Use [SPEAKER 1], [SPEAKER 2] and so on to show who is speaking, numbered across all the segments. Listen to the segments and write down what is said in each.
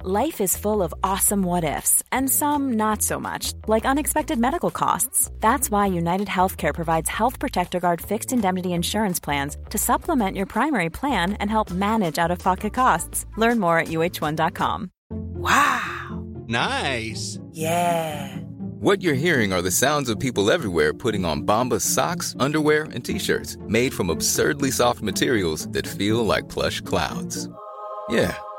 [SPEAKER 1] Life is full of awesome what ifs, and some not so much, like unexpected medical costs. That's why United Healthcare provides Health Protector Guard fixed indemnity insurance plans to supplement your primary plan and help manage out of pocket costs. Learn more at uh1.com.
[SPEAKER 2] Wow.
[SPEAKER 3] Nice.
[SPEAKER 2] Yeah.
[SPEAKER 4] What you're hearing are the sounds of people everywhere putting on Bombas socks, underwear, and t-shirts made from absurdly soft materials that feel like plush clouds. Yeah,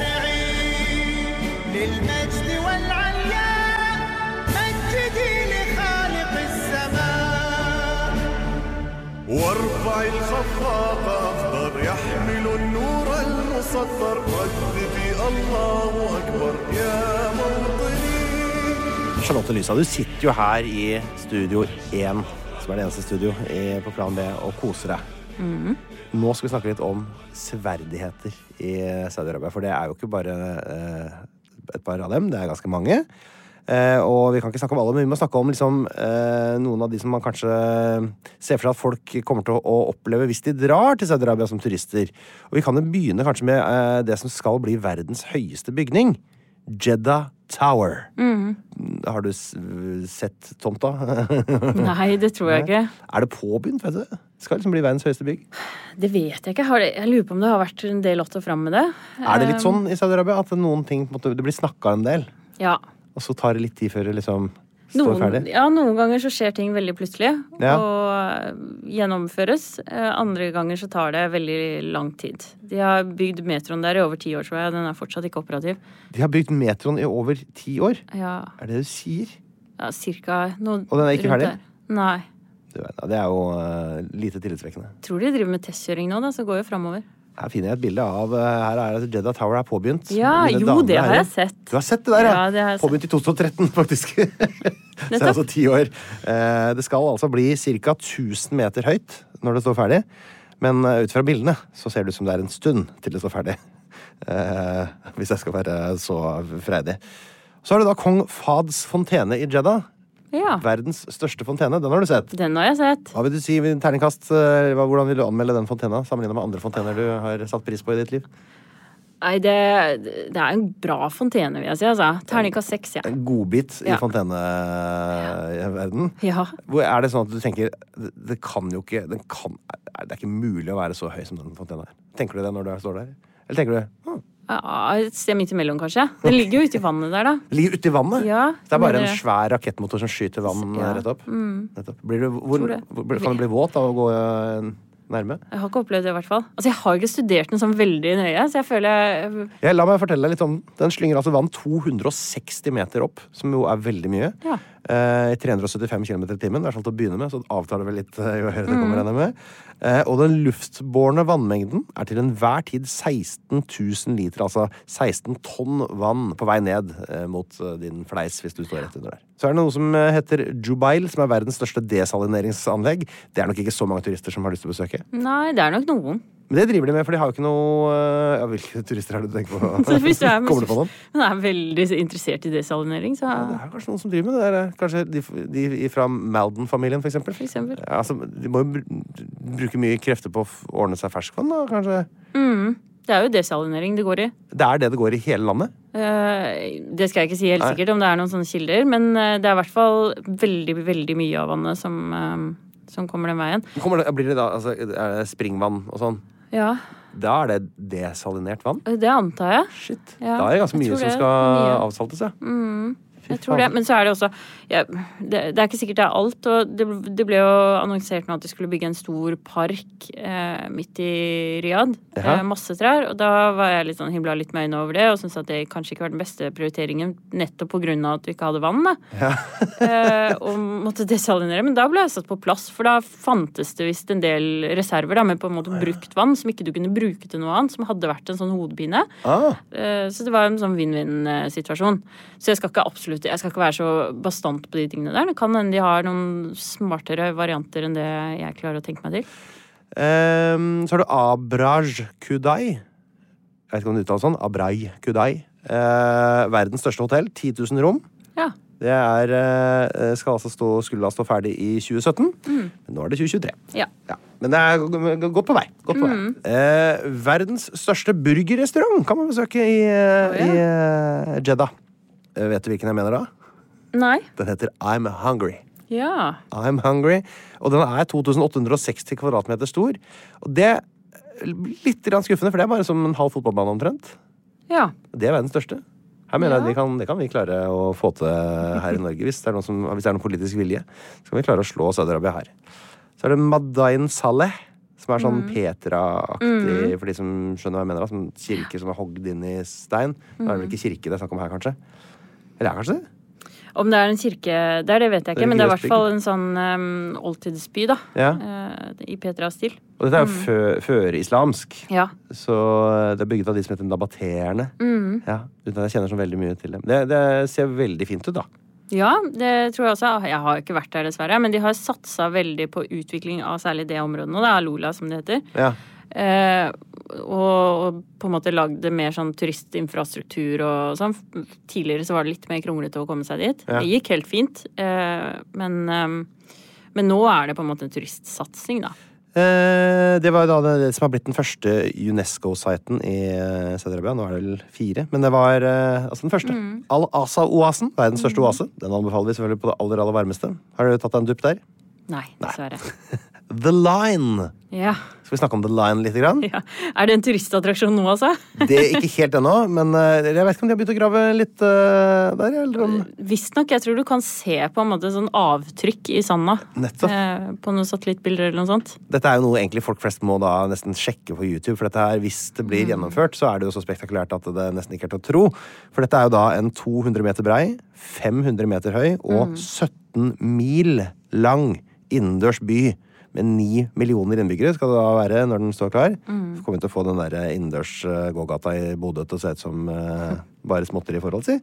[SPEAKER 2] سارعين للمجد والعليا مجدي لخالق السماء
[SPEAKER 5] وارفع الخفاق اخضر يحمل النور المسطر رددي الله اكبر يا موطني
[SPEAKER 6] Charlotte Lysa, du sitter jo her i Studio 1, som er det eneste studio i, på Plan B, og koser deg. Nå skal vi snakke litt om sverdigheter i Saudi-Arabia. For det er jo ikke bare eh, et par av dem, det er ganske mange. Eh, og vi kan ikke snakke om alle, men vi må snakke om liksom, eh, noen av de som man kanskje ser for seg at folk kommer til å, å oppleve hvis de drar til Saudi-Arabia som turister. Og vi kan jo begynne kanskje med eh, det som skal bli verdens høyeste bygning. Jeddah Tower. Har du s- sett tomta?
[SPEAKER 7] Nei, det tror jeg ikke.
[SPEAKER 6] er det påbegynt, vet du? Skal liksom bli verdens høyeste bygg.
[SPEAKER 7] Det vet jeg ikke. Har det, jeg lurer på om det har vært en del åtte fram med det.
[SPEAKER 6] Er
[SPEAKER 7] Eh.
[SPEAKER 6] det litt sånn i Saudi-Arabia at noen ting på en måte, det blir snakka en del,
[SPEAKER 7] Ja.
[SPEAKER 6] og så tar det litt tid før det liksom står
[SPEAKER 7] Noen,
[SPEAKER 6] ferdig?
[SPEAKER 7] ja, noen ganger så skjer ting veldig plutselig
[SPEAKER 6] Ja.
[SPEAKER 7] og øh, gjennomføres. Eh, Andre ganger så tar det veldig lang tid. De har bygd metroen der i over ti år, tror jeg. Den er fortsatt ikke operativ.
[SPEAKER 6] De har bygd metroen i over ti år.
[SPEAKER 7] Ja,
[SPEAKER 6] Er det det du sier?
[SPEAKER 7] ja cirka noe
[SPEAKER 6] Og den er ikke
[SPEAKER 7] rundt
[SPEAKER 6] ferdig?
[SPEAKER 7] der. Nei.
[SPEAKER 6] Du vet, ja, det er jo eh, lite tillitvekkende.
[SPEAKER 7] Tror de driver med testkjøring nå, da, så går jo framover.
[SPEAKER 6] Her finner jeg et bilde av eh, Her er det Jeddah Tower er påbegynt.
[SPEAKER 7] Ja,
[SPEAKER 6] Mine
[SPEAKER 7] jo,
[SPEAKER 6] damer
[SPEAKER 7] det
[SPEAKER 6] og
[SPEAKER 7] har
[SPEAKER 6] herrer.
[SPEAKER 7] jeg sett.
[SPEAKER 6] Du har sett det der,
[SPEAKER 7] Ja, det har jeg sett.
[SPEAKER 6] Påbegynt i 2013, faktisk. Så det er altså ti år. Eh, Det skal altså bli ca. 1000 meter høyt når det står ferdig. Men eh, ut fra bildene så ser det ut som det er en stund til det står ferdig. Eh, Hvis jeg skal være så freidig. Så er det da kong Fads fontene i Jeddah.
[SPEAKER 7] Ja.
[SPEAKER 6] Verdens største fontene. Den har du sett.
[SPEAKER 7] Den har jeg sett.
[SPEAKER 6] Hva vil du si i terningkast? eh, hva- Hvordan vil du anmelde den fontena sammenlignet med andre fontener du har satt pris på i ditt liv?
[SPEAKER 7] Nei, det, det er en bra fontene, vil jeg si. altså. Terningkast seks, jeg.
[SPEAKER 6] En godbit i
[SPEAKER 7] Ja.
[SPEAKER 6] fonteneverdenen.
[SPEAKER 7] Ja.
[SPEAKER 6] Hvor er det sånn at du tenker Det, det kan jo ikke den kan, er- Det er ikke mulig å være så høy som den fontena er. Tenker du det når du er- står der? Eller tenker du «Hm,
[SPEAKER 7] Ja, Ah, Et sted midt imellom, kanskje. Den ligger jo ute i vannet der, da.
[SPEAKER 6] det ligger uti vannet?
[SPEAKER 7] Ja,
[SPEAKER 6] det er bare
[SPEAKER 7] men
[SPEAKER 6] en
[SPEAKER 7] det-
[SPEAKER 6] svær rakettmotor som skyter vann
[SPEAKER 7] Ja. Mm.
[SPEAKER 6] eh, rett opp? Nettopp. Blir du, hvor,
[SPEAKER 7] Tror det.
[SPEAKER 6] hvor, kan du bli våt av å gå eh, nærme?
[SPEAKER 7] Jeg har ikke opplevd det, i hvert fall. Altså, jeg har ikke studert den sånn veldig nøye, så jeg føler jeg
[SPEAKER 6] Ja, la meg fortelle deg litt om den. Den slynger altså vann 260 meter opp, som jo er veldig mye.
[SPEAKER 7] Ja.
[SPEAKER 6] Eh, 375 km i timen, i hvert fall til å begynne med, så avtar det vel litt eh, jo høyere det
[SPEAKER 7] Mm.
[SPEAKER 6] kommer regner jeg med. Eh, og den luftbårne vannmengden er til enhver tid 16 000 liter, altså 16 tonn vann på vei ned eh, mot eh, din fleis, hvis du står rett under der. Så er det noe som eh, heter Jubail, som er verdens største desalineringsanlegg. Det er nok ikke så mange turister som har lyst til å besøke.
[SPEAKER 7] Nei, det er nok noen.
[SPEAKER 6] Men det driver de med, for de har jo ikke noe eh, Ja, hvilke turister er det du tenker på?
[SPEAKER 7] Så hvis du er,
[SPEAKER 6] Kommer du på noen?
[SPEAKER 7] Men jeg er veldig interessert i desalinering, så
[SPEAKER 6] Ja, det er kanskje noen som driver med det. der. eh, Kanskje de, de fra Malden-familien, for eksempel.
[SPEAKER 7] For eksempel.
[SPEAKER 6] Ja, altså, de må jo br- bruke mye krefter på å f- ordne seg ferskvann, da, kanskje.
[SPEAKER 7] Mm. Det er jo desalinering det går i.
[SPEAKER 6] Det er det det går i hele landet.
[SPEAKER 7] Eh, Det skal jeg ikke si helt
[SPEAKER 6] Nei.
[SPEAKER 7] sikkert om det er noen sånne kilder, men eh, det er i hvert fall veldig, veldig mye av vannet som, eh, som kommer den veien.
[SPEAKER 6] Kommer det, blir det da altså, er det springvann og sånn?
[SPEAKER 7] Ja.
[SPEAKER 6] Da er det desalinert vann?
[SPEAKER 5] Det antar jeg.
[SPEAKER 6] Shit.
[SPEAKER 5] Ja,
[SPEAKER 6] da er det ganske
[SPEAKER 5] jeg
[SPEAKER 6] mye
[SPEAKER 5] tror
[SPEAKER 6] som
[SPEAKER 5] det.
[SPEAKER 6] skal
[SPEAKER 5] Mye. Mm.
[SPEAKER 6] avsaltes, ja. Fy
[SPEAKER 5] Jeg tror det,
[SPEAKER 6] faen.
[SPEAKER 5] Men så er det også ja, det, det er ikke sikkert det er alt. Og det, det ble jo annonsert nå at de skulle bygge en stor park eh, midt i Riyadh.
[SPEAKER 6] Jaha.
[SPEAKER 5] Eh, masse trær. Og da var jeg litt sånn himla litt med øynene over det, og syntes at det kanskje ikke var den beste prioriteringen nettopp på grunn av at du ikke hadde vann. Da. eh, og måtte desalinere. Men da ble jeg satt på plass, for da fantes det visst en del reserver da, med på en måte brukt vann som ikke du kunne bruke til noe annet, som hadde vært en sånn hodepine.
[SPEAKER 6] Ah,
[SPEAKER 5] Eh, Så det var en sånn vinn-vinn-situasjon. Så jeg skal ikke absolutt, jeg skal ikke være så bastant på de tingene der. Det kan hende de har noen smartere varianter enn det jeg klarer å tenke meg til.
[SPEAKER 6] ehm, så har du Abraj Kudai. Jeg vet ikke om det uttales sånn. Abraj Kudai. Eh, verdens største hotell. 10 000 rom.
[SPEAKER 5] Ja.
[SPEAKER 6] Det er, eh, skal altså stå, skulle da stå ferdig i 2017, men nå er det 2023.
[SPEAKER 5] Mm. ja. Mm.
[SPEAKER 6] Ja, Men det er g- g- godt på vei. Godt på vei. Eh, verdens største burgerrestaurant kan man besøke i, eh, i eh, Jeddah. Eh, vet du hvilken jeg mener da?
[SPEAKER 5] Nei.
[SPEAKER 6] Den heter I'm Hungry.
[SPEAKER 5] Ja.
[SPEAKER 6] I'm Hungry. Og den er 2860 kvadratmeter stor. Og det er litt grann skuffende, for det er bare som en halv fotballbane omtrent.
[SPEAKER 5] Ja.
[SPEAKER 6] Det er verdens største. Her mener
[SPEAKER 5] Ja.
[SPEAKER 6] jeg de kan, Det kan vi klare å få til her i Norge, hvis det er noen, som, hvis det er noen politisk vilje. Så kan vi klare å slå Saudi-Arabia her. Så er det Madain Saleh, som er
[SPEAKER 5] Mm.
[SPEAKER 6] sånn Petra-aktig, for de som skjønner hva jeg mener. da, Som kirke som er hogd inn i stein. Nå
[SPEAKER 5] Mm.
[SPEAKER 6] er det vel ikke kirke det er snakk om her, kanskje? Eller er det kanskje det?
[SPEAKER 5] Om det er en kirke der, det vet jeg ikke, men det er i
[SPEAKER 6] Religiøs
[SPEAKER 5] hvert fall en sånn um, oldtidsby, da.
[SPEAKER 6] Ja.
[SPEAKER 5] Eh, I Petras-stil.
[SPEAKER 6] Og dette er jo fø, førislamsk.
[SPEAKER 5] Ja.
[SPEAKER 6] Så eh, det er bygget av de som heter nabateerne.
[SPEAKER 5] Mm.
[SPEAKER 6] Ja, uten at jeg kjenner så veldig mye til dem. Det, det ser veldig fint ut, da.
[SPEAKER 5] Ja, det tror jeg også. Jeg har ikke vært der, dessverre. Men de har satsa veldig på utvikling av særlig det området nå. Det er Lola, som det heter.
[SPEAKER 6] Ja.
[SPEAKER 5] Eh, og, og på en måte lagd det mer sånn turistinfrastruktur og sånn. Tidligere så var det litt mer kronglete å komme seg dit.
[SPEAKER 6] Ja.
[SPEAKER 5] Det gikk helt fint. Eh, men, eh, men nå er det på en måte en turistsatsing, da.
[SPEAKER 6] Eh, det var jo da det, det som har blitt den første UNESCO-siten i eh, Saudi-Arabia. Nå er det vel fire, men det var eh, altså den første.
[SPEAKER 5] Mm.
[SPEAKER 6] Al-Asa-oasen. Verdens største oase. Den anbefaler vi selvfølgelig på det aller aller varmeste. Har du tatt deg en dupp der?
[SPEAKER 5] Nei, dessverre.
[SPEAKER 6] The Line.
[SPEAKER 5] Ja.
[SPEAKER 6] Skal vi snakke om The Line lite grann?
[SPEAKER 5] ja. Er det en turistattraksjon nå, altså?
[SPEAKER 6] Det er Ikke helt ennå, men eh, jeg vet ikke om de har begynt å grave litt eh, der? Eller om
[SPEAKER 5] Visstnok. Jeg tror du kan se på en måte sånn avtrykk i sanda.
[SPEAKER 6] Nettopp.
[SPEAKER 5] Eh, på noen satellittbilder eller noe sånt.
[SPEAKER 6] Dette er jo noe egentlig folk flest må da nesten sjekke på YouTube, for dette her, hvis det blir gjennomført, så er det jo så spektakulært at det nesten ikke er til å tro. For dette er jo da en 200 meter brei, 500 meter høy og 17 mil lang innendørs by med 9 millioner innbyggere, skal det da være når den står klar. Så kommer vi til å få den der innendørs eh, gågata i Bodø til å se ut som eh, bare småtteri i forhold, si.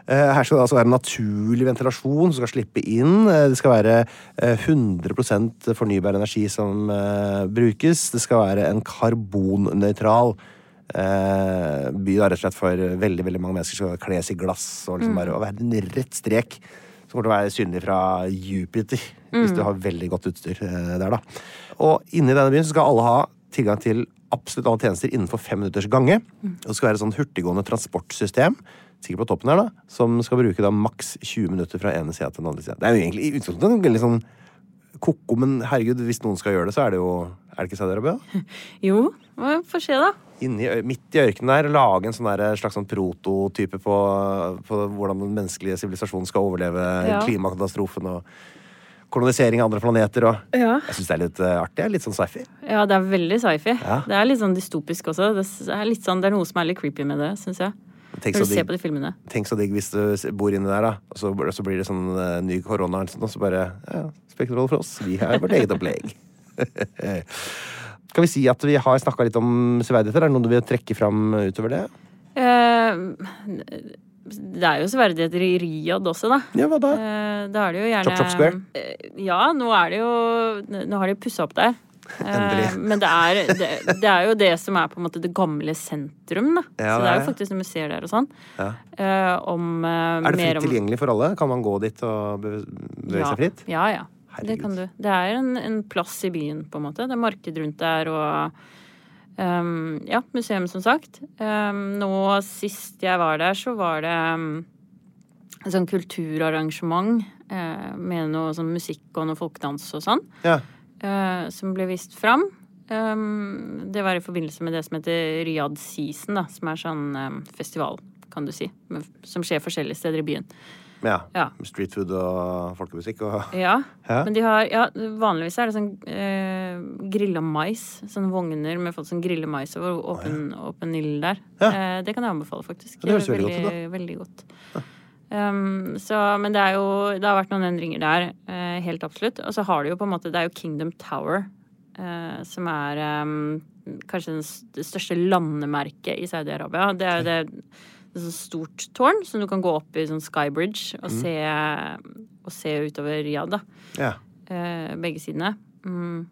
[SPEAKER 6] Eh, Her skal det altså være naturlig ventilasjon som skal slippe inn. Eh, Det skal være eh, 100 fornybar energi som eh, brukes. Det skal være en karbonnøytral eh, by, da, rett og slett for veldig veldig mange mennesker skal kles i glass og liksom bare og være en rett strek som kommer til å være synlig fra Jupiter, hvis
[SPEAKER 5] Mm.
[SPEAKER 6] du har veldig godt utstyr eh, der, da. Og inni denne byen så skal alle ha tilgang til absolutt alle tjenester innenfor fem minutters gange.
[SPEAKER 5] Mm.
[SPEAKER 6] Og det skal være et sånn hurtiggående transportsystem sikkert på toppen her da, som skal bruke da maks 20 minutter fra ene sida til den andre sida. Det er jo egentlig i utgangspunktet en veldig sånn ko-ko, men herregud, hvis noen skal gjøre det, så er det jo Er det ikke Saudi-Arabia?
[SPEAKER 5] Jo, vi får se, da.
[SPEAKER 6] Inni ø- Midt i ørkenen der, lage en sånn der slags sånn prototype på, på hvordan den menneskelige sivilisasjonen skal overleve
[SPEAKER 5] Ja.
[SPEAKER 6] klimakatastrofen og kolonisering av andre planeter og
[SPEAKER 5] Ja.
[SPEAKER 6] Jeg syns det er litt ø, artig. Litt sånn sci-fi.
[SPEAKER 5] Ja, det er veldig sci-fi.
[SPEAKER 6] Ja.
[SPEAKER 5] Det er litt sånn dystopisk også. Det s- er, litt sånn, det er noe som er litt creepy med det, syns jeg.
[SPEAKER 6] Tenk
[SPEAKER 5] Når
[SPEAKER 6] så
[SPEAKER 5] du ser
[SPEAKER 6] digg
[SPEAKER 5] på de filmene.
[SPEAKER 6] Tenk så digg hvis du s- bor inni der, da. Og så, bl- så blir det sånn eh, ny korona, og så bare ja, Spektroll for oss. Vi har vårt eget opplegg. Kan vi si at vi har snakka litt om severdigheter? Er det noe du vil trekke fram utover det?
[SPEAKER 5] Eh, det er jo severdigheter i Riyadh også, da.
[SPEAKER 6] Ja, hva da?
[SPEAKER 5] Eh, da er det jo gjerne
[SPEAKER 6] Chop Chop Square?
[SPEAKER 5] Eh, ja, nå er det jo Nå har de pussa opp der. Eh,
[SPEAKER 6] Endelig.
[SPEAKER 5] Men det er, det, det er jo det som er på en måte det gamle sentrum, da.
[SPEAKER 6] Ja,
[SPEAKER 5] Så det er jo
[SPEAKER 6] det er
[SPEAKER 5] faktisk noen museer der og sånn. Eh, om eh,
[SPEAKER 6] Er det
[SPEAKER 5] mer om
[SPEAKER 6] fritt tilgjengelig for alle? Kan man gå dit og beve- bevege
[SPEAKER 5] ja.
[SPEAKER 6] seg fritt?
[SPEAKER 5] Ja, ja. Det
[SPEAKER 6] Herregud.
[SPEAKER 5] kan du. Det er en, en plass i byen, på en måte. Det er marked rundt der og ehm, Ja, museum, som sagt. Ehm, nå sist jeg var der, så var det ehm, et sånn kulturarrangement eh, med noe sånn musikk og noe folkedans og sånn,
[SPEAKER 6] Ja.
[SPEAKER 5] eh, som ble vist fram. Eh,
[SPEAKER 8] Ehm, det var i forbindelse med det som heter Riyadh Season, da, som er sånn ehm, festival, kan du si, men f- som skjer forskjellige steder i byen.
[SPEAKER 6] Ja.
[SPEAKER 8] Ja.
[SPEAKER 6] Street food og folkemusikk og
[SPEAKER 8] Ja,
[SPEAKER 6] Hæ?
[SPEAKER 8] men de har ja, Vanligvis er det sånn eh, grilla mais. Sånne vogner med folk som griller mais over åpen, åpen ild der. Eh, det kan jeg anbefale, faktisk.
[SPEAKER 6] Ja, det høres veldig godt ut, da.
[SPEAKER 8] veldig godt. Um, så, men det er jo Det har vært noen endringer der, eh, helt absolutt. Og så har du jo på en måte Det er jo Kingdom Tower, eh, som er em, kanskje den s- det største landemerket i Saudi-Arabia. Det er jo det, det er sånn stort tårn som du kan gå opp i sånn skybridge og, se, og se utover Riyadh, da.
[SPEAKER 6] Mm. Ja.
[SPEAKER 8] Eh, begge sidene. Mm.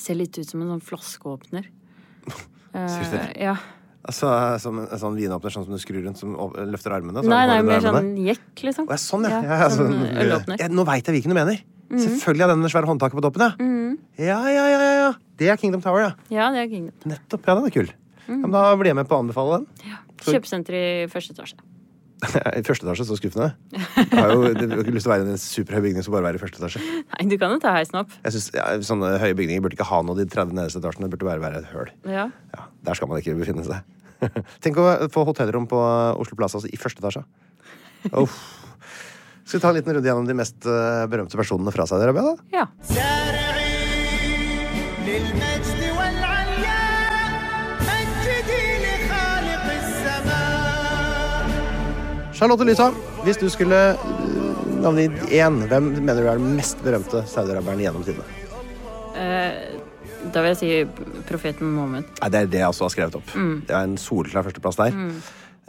[SPEAKER 8] Ser litt ut som en sånn flaskeåpner.
[SPEAKER 6] Synes
[SPEAKER 8] Eh,
[SPEAKER 6] dere?
[SPEAKER 8] ja.
[SPEAKER 6] Altså, som en sånn vinåpner, sånn som du skrur rundt, som opp- løfter armene? Så
[SPEAKER 8] Nei, nei,
[SPEAKER 6] holder du
[SPEAKER 8] mer
[SPEAKER 6] armene.
[SPEAKER 8] sånn jekk, liksom.
[SPEAKER 6] Å, ja, sånn, ja. ja,
[SPEAKER 8] Ja,
[SPEAKER 6] altså,
[SPEAKER 8] sånn ølåpner. Mhm.
[SPEAKER 6] ja nå veit jeg hvilken du mener. Selvfølgelig har den med svære håndtaket på toppen, ja. Ja, ja, ja, ja, ja. Det er Kingdom Tower, ja.
[SPEAKER 8] Ja, det er Kingdom. Mhm.
[SPEAKER 6] Nettopp. Ja, den er kul. Ja, men da blir jeg med på å anbefale den. Så-
[SPEAKER 8] Kjøpesenter i første etasje.
[SPEAKER 6] I første etasje, så skuffende. Jeg har jo jeg har ikke lyst til å være i en superhøy bygning som bare være i første etasje.
[SPEAKER 8] Nei, du kan jo ta heisen opp.
[SPEAKER 6] Jeg synes, ja, Sånne høye bygninger burde ikke ha noe de 30 nederste etasjene. Det burde bare være et høl.
[SPEAKER 8] Ja.
[SPEAKER 6] Ja, der skal man ikke befinne seg. Tenk å få hotellrom på Oslo Plaza altså, i første etasje. Uff. Skal vi ta en liten runde gjennom de mest eh, berømte personene fra Saudi-Arabia? da?
[SPEAKER 8] ja.
[SPEAKER 5] سارعين للمجد والعليا مجدي لخالق السماء
[SPEAKER 6] Charlotte Lysholm, hvis du skulle eh, navngitt én, hvem mener du er den mest berømte saudiaraberen gjennom tidene?
[SPEAKER 8] Eh, Da vil jeg si profeten Mohammed. Mm.
[SPEAKER 6] Nei, Det er det jeg også har skrevet opp. Det er en soleklar førsteplass der.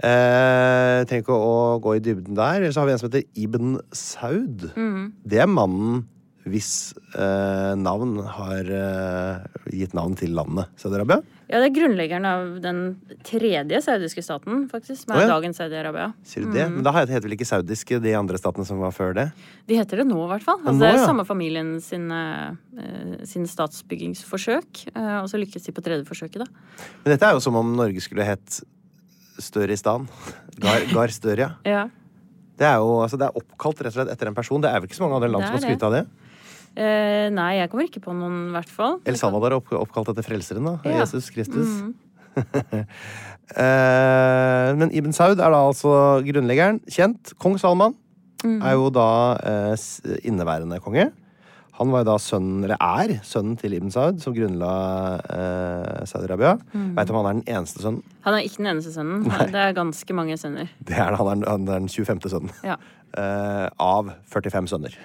[SPEAKER 6] Eh, trenger ikke å gå i dybden der. Eller så har vi en som heter Ibn Saud.
[SPEAKER 8] Mm.
[SPEAKER 6] Det er mannen hvis eh, navn har eh, gitt navn til landet Saudi-Arabia.
[SPEAKER 8] Ja, det er grunnleggeren av den tredje saudiske staten, faktisk, som
[SPEAKER 6] Å,
[SPEAKER 8] er
[SPEAKER 6] ja.
[SPEAKER 8] dagens Saudi-Arabia. Mm.
[SPEAKER 6] Sier du det? Men da heter vel ikke saudiske de andre statene som var før det?
[SPEAKER 8] De heter det nå, i hvert fall. Altså,
[SPEAKER 6] nå,
[SPEAKER 8] det er
[SPEAKER 6] ja.
[SPEAKER 8] samme familien sine, eh, sine statsbyggingsforsøk. eh, og så lykkes de på tredje forsøket, da.
[SPEAKER 6] Men dette er jo som om Norge skulle hett Støristan. Gar, Gar Stør, ja.
[SPEAKER 8] Ja.
[SPEAKER 6] Det er jo altså, det er oppkalt rett og slett etter en person. Det er vel ikke så mange andre land som har
[SPEAKER 8] Det er
[SPEAKER 6] skrytt av det?
[SPEAKER 8] Eh, nei, jeg kommer ikke på noen, i hvert fall.
[SPEAKER 6] El Salvador er opp, oppkalt etter frelseren, da.
[SPEAKER 8] Ja. Mm.
[SPEAKER 6] Jesus Kristus. eh, men Ibn Saud er da altså grunnleggeren. Kjent. Kong Salman
[SPEAKER 8] Mm.
[SPEAKER 6] er jo da eh, s- inneværende konge. Han var jo da sønnen, eller er sønnen til Ibn Saud, som grunnla eh, Saudi-Arabia. Vet du om han er den eneste sønnen?
[SPEAKER 8] Mm. Han er ikke den eneste sønnen. Det er ganske mange sønner.
[SPEAKER 6] Det er, han, er, den- han er den 25. sønnen.
[SPEAKER 8] Ja.
[SPEAKER 6] Eh, av 45 sønner.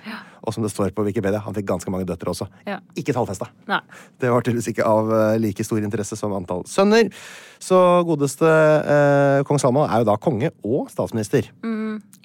[SPEAKER 6] Og som det står på Wikipedia, han fikk ganske mange døtre også.
[SPEAKER 8] Ja.
[SPEAKER 6] Ikke tallfesta.
[SPEAKER 8] Nei.
[SPEAKER 6] Det var tydeligvis ikke av eh, like stor interesse som antall sønner. Så godeste eh, kong Salman er jo da konge og statsminister.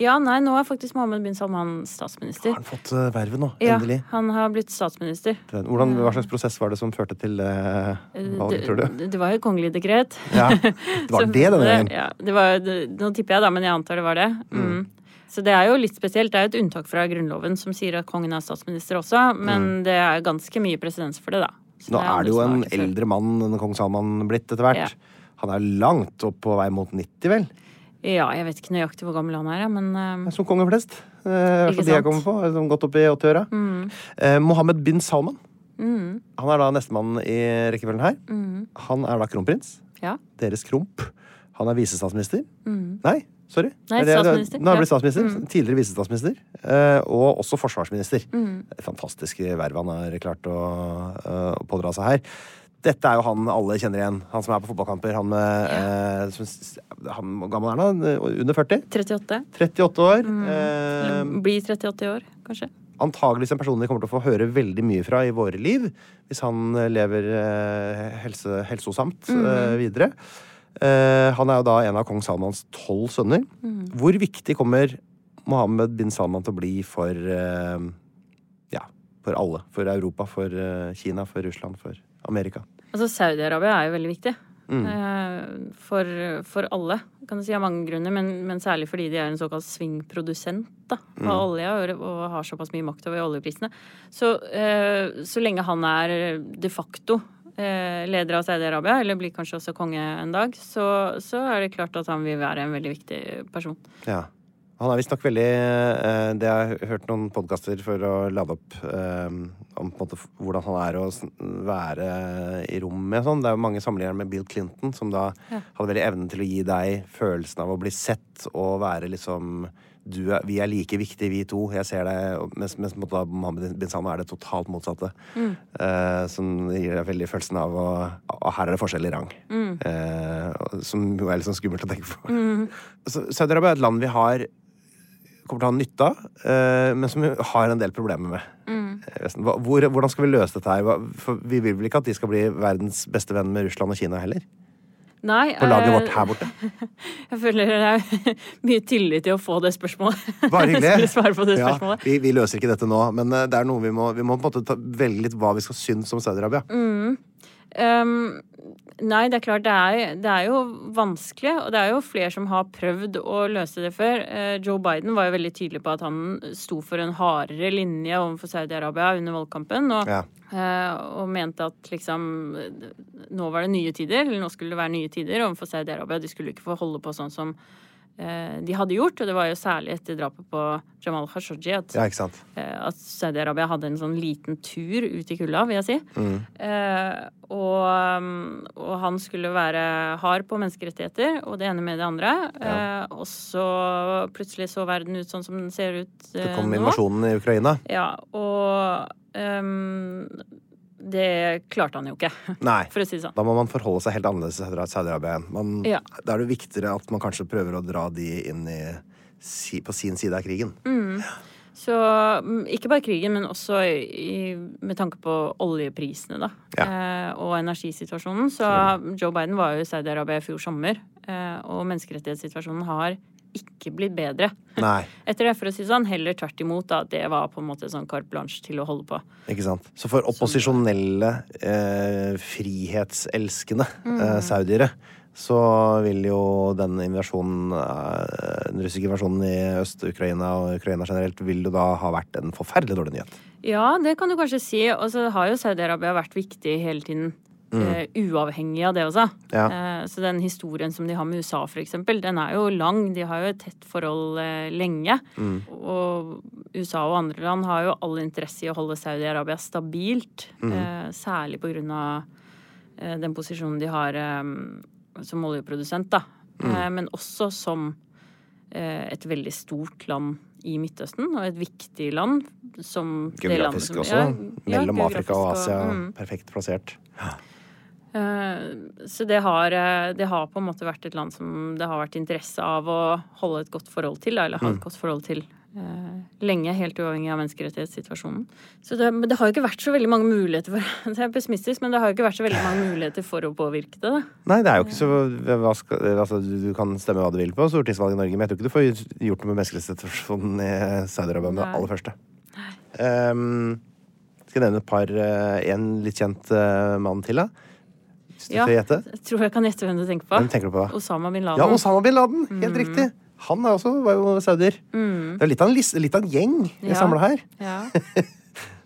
[SPEAKER 8] Ja, nei, nå er faktisk Mohammed bin Salman statsminister.
[SPEAKER 6] Har han fått eh, vervet nå?
[SPEAKER 8] Ja,
[SPEAKER 6] Endelig.
[SPEAKER 8] han har blitt statsminister.
[SPEAKER 6] Hvordan, hva slags prosess var det som førte til eh, valget, tror du?
[SPEAKER 8] Det, det var jo kongelig dekret.
[SPEAKER 6] Ja, det var
[SPEAKER 8] Så-
[SPEAKER 6] det denne gangen.
[SPEAKER 8] Ja, det var, det, nå tipper jeg, da, men jeg antar det var det. Mm. Så det er jo litt spesielt. Det er jo et unntak fra Grunnloven som sier at kongen er statsminister også, men det er ganske mye presedens for det, da. Så
[SPEAKER 6] Mm. Nå
[SPEAKER 8] er
[SPEAKER 6] er det
[SPEAKER 8] andre
[SPEAKER 6] jo
[SPEAKER 8] som
[SPEAKER 6] en
[SPEAKER 8] har vært før.
[SPEAKER 6] eldre mann enn kong Salman blitt etter hvert.
[SPEAKER 8] Ja.
[SPEAKER 6] Han er langt opp på vei mot 90, vel?
[SPEAKER 8] Ja, jeg vet ikke nøyaktig hvor gammel han er, ja, men eh,
[SPEAKER 6] Som konge flest. Eh,
[SPEAKER 8] Ikke
[SPEAKER 6] for de jeg
[SPEAKER 8] sant? Mm.
[SPEAKER 6] kommer på, som gått opp i 80-åra. Eh, Mohammed bin Salman. Han er da nestemann i rekkefølgen her. Han er da kronprins.
[SPEAKER 8] Mm. ja. Mm.
[SPEAKER 6] Deres kromp. Han er visestatsminister. Nei, sorry.
[SPEAKER 8] Nei,
[SPEAKER 6] Er det-
[SPEAKER 8] statsminister.
[SPEAKER 6] Nå har han blitt
[SPEAKER 8] Ja. Mm.
[SPEAKER 6] statsminister. Tidligere visestatsminister. Eh, og også forsvarsminister.
[SPEAKER 8] Mm.
[SPEAKER 6] Fantastisk verv han har klart å, eh, å pådra seg her. Dette er jo han alle kjenner igjen. Han som er på fotballkamper. Han, med, eh, som, s- han hvor gammel er han? da? Under 40?
[SPEAKER 8] 38.
[SPEAKER 6] 38 år. Eh,
[SPEAKER 8] Mm. Blir 38 i år, kanskje.
[SPEAKER 6] antageligvis en person vi kommer til å få høre veldig mye fra i våre liv, hvis han eh, lever eh, helse, helsosamt
[SPEAKER 8] Mm.
[SPEAKER 6] eh, videre. Eh, han er jo da en av kong Salmans tolv sønner.
[SPEAKER 8] Mm.
[SPEAKER 6] Hvor viktig kommer Mohammed bin Salman til å bli for eh, ja, for alle? For Europa, for eh, Kina, for Russland, for Amerika?
[SPEAKER 8] Altså, Saudi-Arabia er jo veldig viktig. Eh, For, for alle, kan du si, av mange grunner. Men, men særlig fordi de er en såkalt svingprodusent da, av olje og, og har såpass mye makt over oljeprisene. Så, eh, så lenge han er de facto eh, leder av Saudi-Arabia, eller blir kanskje også konge en dag, så, så er det klart at han vil være en veldig viktig person.
[SPEAKER 6] Ja. Han er visstnok veldig eh, Det har jeg hørt noen podkaster for å lade opp eh,
[SPEAKER 3] om på en måte f- hvordan han er å sn- være i rom med og sånn. Det er jo mange sammenligninger med Bill Clinton, som da hadde veldig evnen til å gi deg følelsen av å bli sett og være liksom du er, vi er like viktige, vi to. Jeg ser deg. og- Mens, mens på en måte da Mohammed bin Salman er det totalt motsatte. Eh, som gir deg veldig følelsen av å å, Her er det forskjell i rang. Eh, og- som jo er litt sånn skummelt å tenke på. Så Saudi-Arabia er et land vi har kommer til å ha nytte av, eh, men som vi har en del problemer med.
[SPEAKER 6] Mm.
[SPEAKER 3] Eh, Vesten. Hva- Hvor, hvordan skal vi løse dette her? Hva- For vi vil vel ikke at de skal bli verdens beste venn med Russland og Kina heller?
[SPEAKER 6] Nei,
[SPEAKER 3] På laget
[SPEAKER 6] eh,
[SPEAKER 3] vårt her borte?
[SPEAKER 6] Jeg føler det er mye tillit i å få det spørsmålet.
[SPEAKER 3] Bare hyggelig.
[SPEAKER 6] Jeg skulle svare på det
[SPEAKER 3] Ja,
[SPEAKER 6] spørsmålet.
[SPEAKER 3] vi, vi løser ikke dette nå, men eh, det er noe vi må, vi må på en måte ta, velge litt hva vi skal synes om Saudi-Arabia.
[SPEAKER 6] Mm. Ehm, nei, det er klart det er, det er jo vanskelig, og det er jo flere som har prøvd å løse det før. Eh, Joe Biden var jo veldig tydelig på at han sto for en hardere linje overfor Saudi-Arabia under valgkampen. og
[SPEAKER 3] Ja.
[SPEAKER 6] eh, og mente at liksom eh, Nå var det nye tider, eller nå skulle det være nye tider overfor Saudi-Arabia. De skulle ikke få holde på sånn som eh, de hadde gjort. Og det var jo særlig etter drapet på Jamal Khashoggi at
[SPEAKER 3] ja, ikke sant?
[SPEAKER 6] eh, at Saudi-Arabia hadde en sånn liten tur ut i kulda, vil jeg si.
[SPEAKER 3] Mm.
[SPEAKER 6] Eh, og, um, og han skulle være hard på menneskerettigheter og det ene med det andre. Eh, og så plutselig så verden ut sånn som den ser ut eh,
[SPEAKER 3] Det kom
[SPEAKER 6] nå.
[SPEAKER 3] invasjonen i Ukraina.
[SPEAKER 6] Ja, og um, det klarte han jo ikke,
[SPEAKER 3] Nei.
[SPEAKER 6] for å si det sånn.
[SPEAKER 3] Da må man forholde seg helt annerledes til Saudi-Arabia igjen. Man-
[SPEAKER 6] Ja.
[SPEAKER 3] Da er det viktigere at man kanskje prøver å dra de inn i, si, på sin side av krigen.
[SPEAKER 6] Så mm, ikke bare krigen, men også i, i- med tanke på oljeprisene, da. Eh, og energisituasjonen. Så
[SPEAKER 3] Mm.
[SPEAKER 6] Joe Biden var jo i Saudi-Arabia i fjor sommer. Eh, og menneskerettighetssituasjonen har ikke blitt bedre.
[SPEAKER 3] Nei.
[SPEAKER 6] Etter det, for å si det sånn, heller tvert imot, da. Det var på en måte sånn carte blanche til å holde på.
[SPEAKER 3] Ikke sant? Så for opposisjonelle, eh, frihetselskende
[SPEAKER 6] Mm.
[SPEAKER 3] eh, saudiere, så vil jo den invasjonen, eh, den russiske invasjonen i Øst-Ukraina og Ukraina generelt, vil jo da ha vært en forferdelig dårlig nyhet.
[SPEAKER 6] Ja, det kan du kanskje si. Og så har jo Saudi-Arabia vært viktig hele tiden. eh, uavhengig av det også.
[SPEAKER 3] Ja.
[SPEAKER 6] Eh, så den historien som de har med USA, for eksempel, den er jo lang. De har jo et tett forhold eh, lenge. Og USA og andre land har jo all interesse i å holde Saudi-Arabia stabilt. eh, særlig på grunn av eh, den posisjonen de har eh, som oljeprodusent, da.
[SPEAKER 3] Mm.
[SPEAKER 6] Eh, men også som eh, et veldig stort land i Midtøsten, og et viktig land som det landet
[SPEAKER 3] Geografisk
[SPEAKER 6] som-
[SPEAKER 3] også.
[SPEAKER 6] Ja, ja,
[SPEAKER 3] mellom Afrika og
[SPEAKER 6] geografisk
[SPEAKER 3] Asia.
[SPEAKER 6] mm.
[SPEAKER 3] Perfekt plassert.
[SPEAKER 6] Eh, Så det har, eh, det har på en måte vært et land som det har vært interesse av å holde et godt forhold til, da, eller ha
[SPEAKER 3] Mm.
[SPEAKER 6] et godt forhold til. eh, Lenge, helt uavhengig av menneskerettighetssituasjonen. Så det, men det har jo ikke vært så veldig mange muligheter for Det er pessimistisk, men det har jo ikke vært så veldig mange muligheter for å påvirke det. Da.
[SPEAKER 3] Nei, det er jo ikke så hva skal, altså, Du du kan stemme hva du vil på stortingsvalget i Norge, men jeg tror ikke du får gjort noe med menneskerettighetssituasjonen i Saudi-Arabia med det
[SPEAKER 6] Nei.
[SPEAKER 3] aller første. Um, skal jeg nevne et par eh, En litt kjent eh, mann til, da? Hvis du
[SPEAKER 6] Ja,
[SPEAKER 3] får gjette?
[SPEAKER 6] jeg tror jeg kan gjette hvem du tenker på.
[SPEAKER 3] Hvem tenker du på da?
[SPEAKER 6] Osama Mm. bin
[SPEAKER 3] Ja,
[SPEAKER 6] Laden.
[SPEAKER 3] Osama bin Laden! Helt riktig. Han er også, var jo saudier. Det er litt av en, liste, litt av en gjeng vi
[SPEAKER 6] Mm. Ja.
[SPEAKER 3] samla her.
[SPEAKER 6] Ja.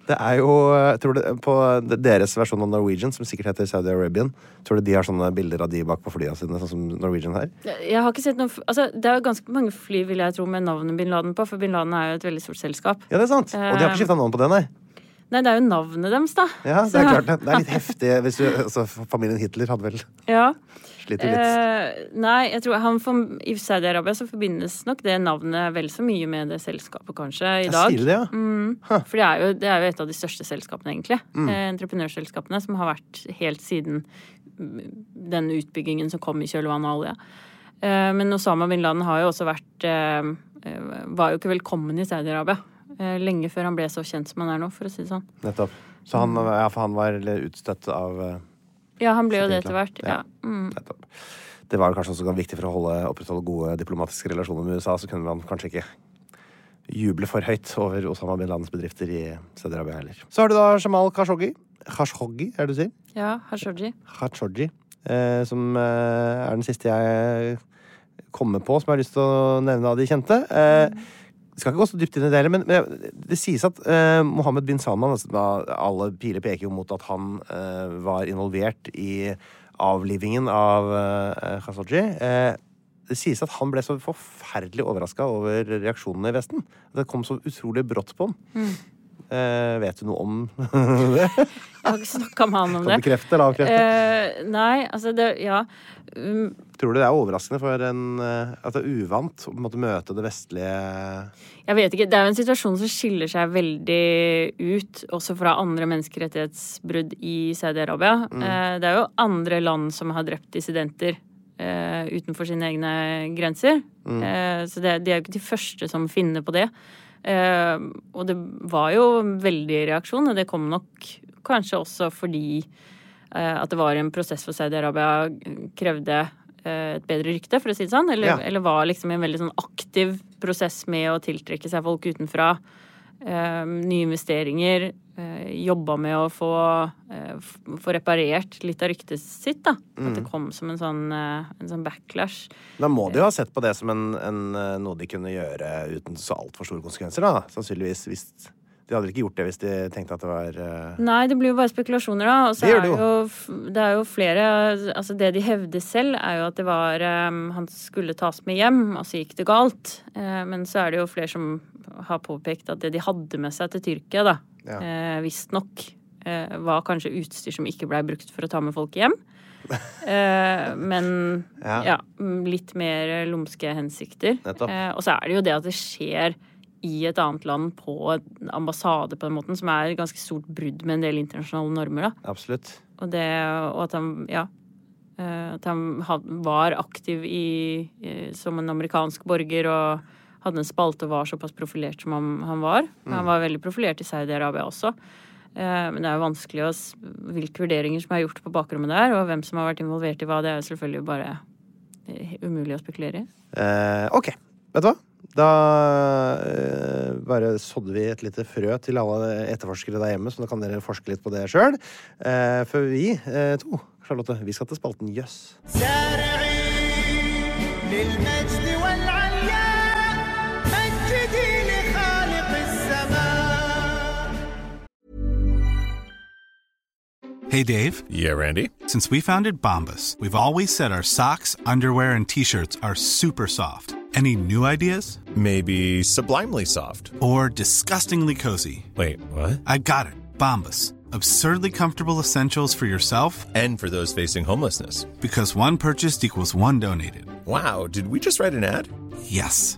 [SPEAKER 3] Det er jo jeg tror det, På eh, deres versjon av Norwegian, som sikkert heter Saudi Arabian, tror du de har sånne bilder av de bak på flyene sine, sånn som Norwegian her?
[SPEAKER 6] Jeg har ikke sett noen f- altså, Det er jo ganske mange fly vil jeg tro med navnet bin Laden på, for bin Laden er jo et veldig stort selskap.
[SPEAKER 3] Ja, det er sant. Og de
[SPEAKER 6] Um.
[SPEAKER 3] har ikke skifta navn på det, nei.
[SPEAKER 6] Nei, det er jo navnet deres, da.
[SPEAKER 3] Ja, Det er
[SPEAKER 6] Så-
[SPEAKER 3] klart det. Det er litt heftig. Hvis du, altså, familien Hitler hadde vel
[SPEAKER 6] Ja.
[SPEAKER 3] slitt litt.
[SPEAKER 6] Eh, nei, jeg tror han forb- i Saudi-Arabia så forbindes nok det navnet vel så mye med det selskapet, kanskje, i
[SPEAKER 3] Jeg
[SPEAKER 6] dag. Mm.
[SPEAKER 3] sier det, ja.
[SPEAKER 6] For det er, jo, det er jo et av de største selskapene, egentlig.
[SPEAKER 3] Mm.
[SPEAKER 6] Eh, entreprenørselskapene som har vært helt siden mm, den utbyggingen som kom i kjølvannet av olje. Eh, men Osama bin Laden har jo også vært eh, eh, Var jo ikke velkommen i Saudi-Arabia. eh, Lenge før han ble så kjent som han er nå, for å si det sånn.
[SPEAKER 3] Nettopp. Så han, ja, for han var litt utstøtt av eh,
[SPEAKER 6] Ja, han ble jo det
[SPEAKER 3] Saudi-Arabia.
[SPEAKER 6] etter hvert.
[SPEAKER 3] Ja.
[SPEAKER 6] Ja. Mm.
[SPEAKER 3] Nettopp. Det var kanskje også viktig for å holde, opprettholde gode diplomatiske relasjoner med USA. Så kunne man kanskje ikke juble for høyt over Osama bin Ladens bedrifter i Saudi-Arabia heller. Så har du da Jamal Khashoggi. Khashoggi, er det du sier?
[SPEAKER 6] ja, Hashorji.
[SPEAKER 3] Khashoggi, eh, som eh, er den siste jeg kommer på som jeg har lyst til å nevne av de kjente. Eh, vi skal ikke gå så dypt inn i det heller, men, men det sies at eh, Mohammed bin Salman altså, da, Alle piler peker jo mot at han eh, var involvert i avlivingen av eh, Khashoggi. Eh, det sies at han ble så forferdelig overraska over reaksjonene i Vesten. At det kom så utrolig brått på ham. Eh, vet du noe om det?
[SPEAKER 6] Jeg har ikke snakka med han om
[SPEAKER 3] Kan
[SPEAKER 6] det.
[SPEAKER 3] bekrefte eller avkrefte?
[SPEAKER 6] Eh, nei, altså det Ja. Um,
[SPEAKER 3] Tror du det er overraskende for en eh, At det er uvant å på en måte møte det vestlige
[SPEAKER 6] Jeg vet ikke. Det er jo en situasjon som skiller seg veldig ut, også fra andre menneskerettighetsbrudd i Saudi-Arabia. Eh, Det er jo andre land som har drept dissidenter eh, utenfor sine egne grenser. Eh, Så det, de er jo ikke de første som finner på det. Eh, Og det var jo en veldig reaksjon, og det kom nok kanskje også fordi eh, at det var en prosess for Saudi-Arabia krevde eh, et bedre rykte, for å si det sånn. Eller,
[SPEAKER 3] Ja.
[SPEAKER 6] eller var liksom i en veldig sånn aktiv prosess med å tiltrekke seg folk utenfra. eh, nye investeringer. Uh, jobba med å få, eh, f- få reparert litt av ryktet sitt, da. At det kom som en sånn, eh, en sånn backlash.
[SPEAKER 3] Da må de jo ha sett på det som en, en, eh, noe de kunne gjøre uten så altfor store konsekvenser, da. Sannsynligvis. Hvis, de hadde vel ikke gjort det hvis de tenkte at det var eh,
[SPEAKER 6] Nei, det blir jo bare spekulasjoner, da. Og så
[SPEAKER 3] Det gjør
[SPEAKER 6] er
[SPEAKER 3] det jo.
[SPEAKER 6] jo. f- det er jo flere Altså, det de hevder selv, er jo at det var eh, Han skulle tas med hjem, og så gikk det galt. Eh, men så er det jo flere som har påpekt at det de hadde med seg til Tyrkia, da,
[SPEAKER 3] Ja.
[SPEAKER 6] eh, visstnok eh, var kanskje utstyr som ikke blei brukt for å ta med folk hjem. Eh, men
[SPEAKER 3] Ja.
[SPEAKER 6] ja. mm, litt mer lumske hensikter.
[SPEAKER 3] Nettopp.
[SPEAKER 6] Eh, og så er det jo det at det skjer i et annet land på en ambassade, på den måten, som er et ganske stort brudd med en del internasjonale normer. Da.
[SPEAKER 3] Absolutt.
[SPEAKER 6] Og, det, og at han, ja, eh, at han had, var aktiv i, eh, som en amerikansk borger og hadde en spalte og var såpass profilert som han, han var. Han var veldig profilert i Saudi-Arabia også. Eh, Men det er jo vanskelig å s- Hvilke vurderinger som er gjort på bakrommet der, og hvem som har vært involvert i hva, det er jo selvfølgelig bare eh, umulig å spekulere i.
[SPEAKER 3] Eh, OK. Vet du hva? Da eh, bare sådde vi et lite frø til alle etterforskere der hjemme, så da kan dere forske litt på det sjøl. Eh, før vi eh, to, Charlotte, vi skal til spalten Jøss.
[SPEAKER 5] سارعين للمجد والعلياء مجدي لخالق السماء
[SPEAKER 9] Hey Dave,
[SPEAKER 10] Yeah, Randy.
[SPEAKER 9] since we founded Bombus, we've always said our socks, underwear, and t shirts are super soft. Any new ideas?
[SPEAKER 10] Maybe sublimely soft.
[SPEAKER 9] Or disgustingly cozy?
[SPEAKER 10] Wait, what?
[SPEAKER 9] I got it, Bombus. Absurdly comfortable essentials for yourself
[SPEAKER 10] And for those facing homelessness.
[SPEAKER 9] because one purchased equals one donated.
[SPEAKER 10] Wow, did we just write an ad?
[SPEAKER 9] Yes.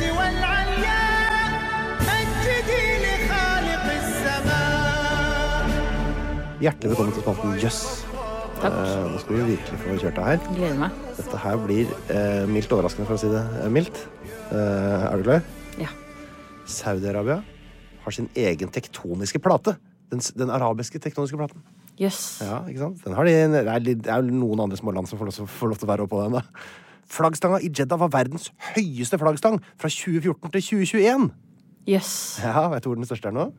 [SPEAKER 5] والعلياء مجدي لخالق السماء
[SPEAKER 3] Hjertelig velkommen til spalten Jøss.
[SPEAKER 6] Takk.
[SPEAKER 3] Eh, nå skal vi virkelig få kjørt det her.
[SPEAKER 6] Gleder meg.
[SPEAKER 3] Dette her blir eh, mildt overraskende, for å si det eh, mildt. Eh, er du klar?
[SPEAKER 6] Ja.
[SPEAKER 3] Saudi-Arabia har sin egen tektoniske plate. Den, s- den arabiske tektoniske platen.
[SPEAKER 6] Jøss.
[SPEAKER 3] Ja, ikke sant? Den har de, det, er, litt- det er jo noen andre små land som får lov, får lov til å være oppå den. da. Flaggstanga i Jeddah var verdens høyeste flaggstang fra 2014 til 2021.
[SPEAKER 6] Jøss.
[SPEAKER 3] Ja, Vet du hvor den største er nå?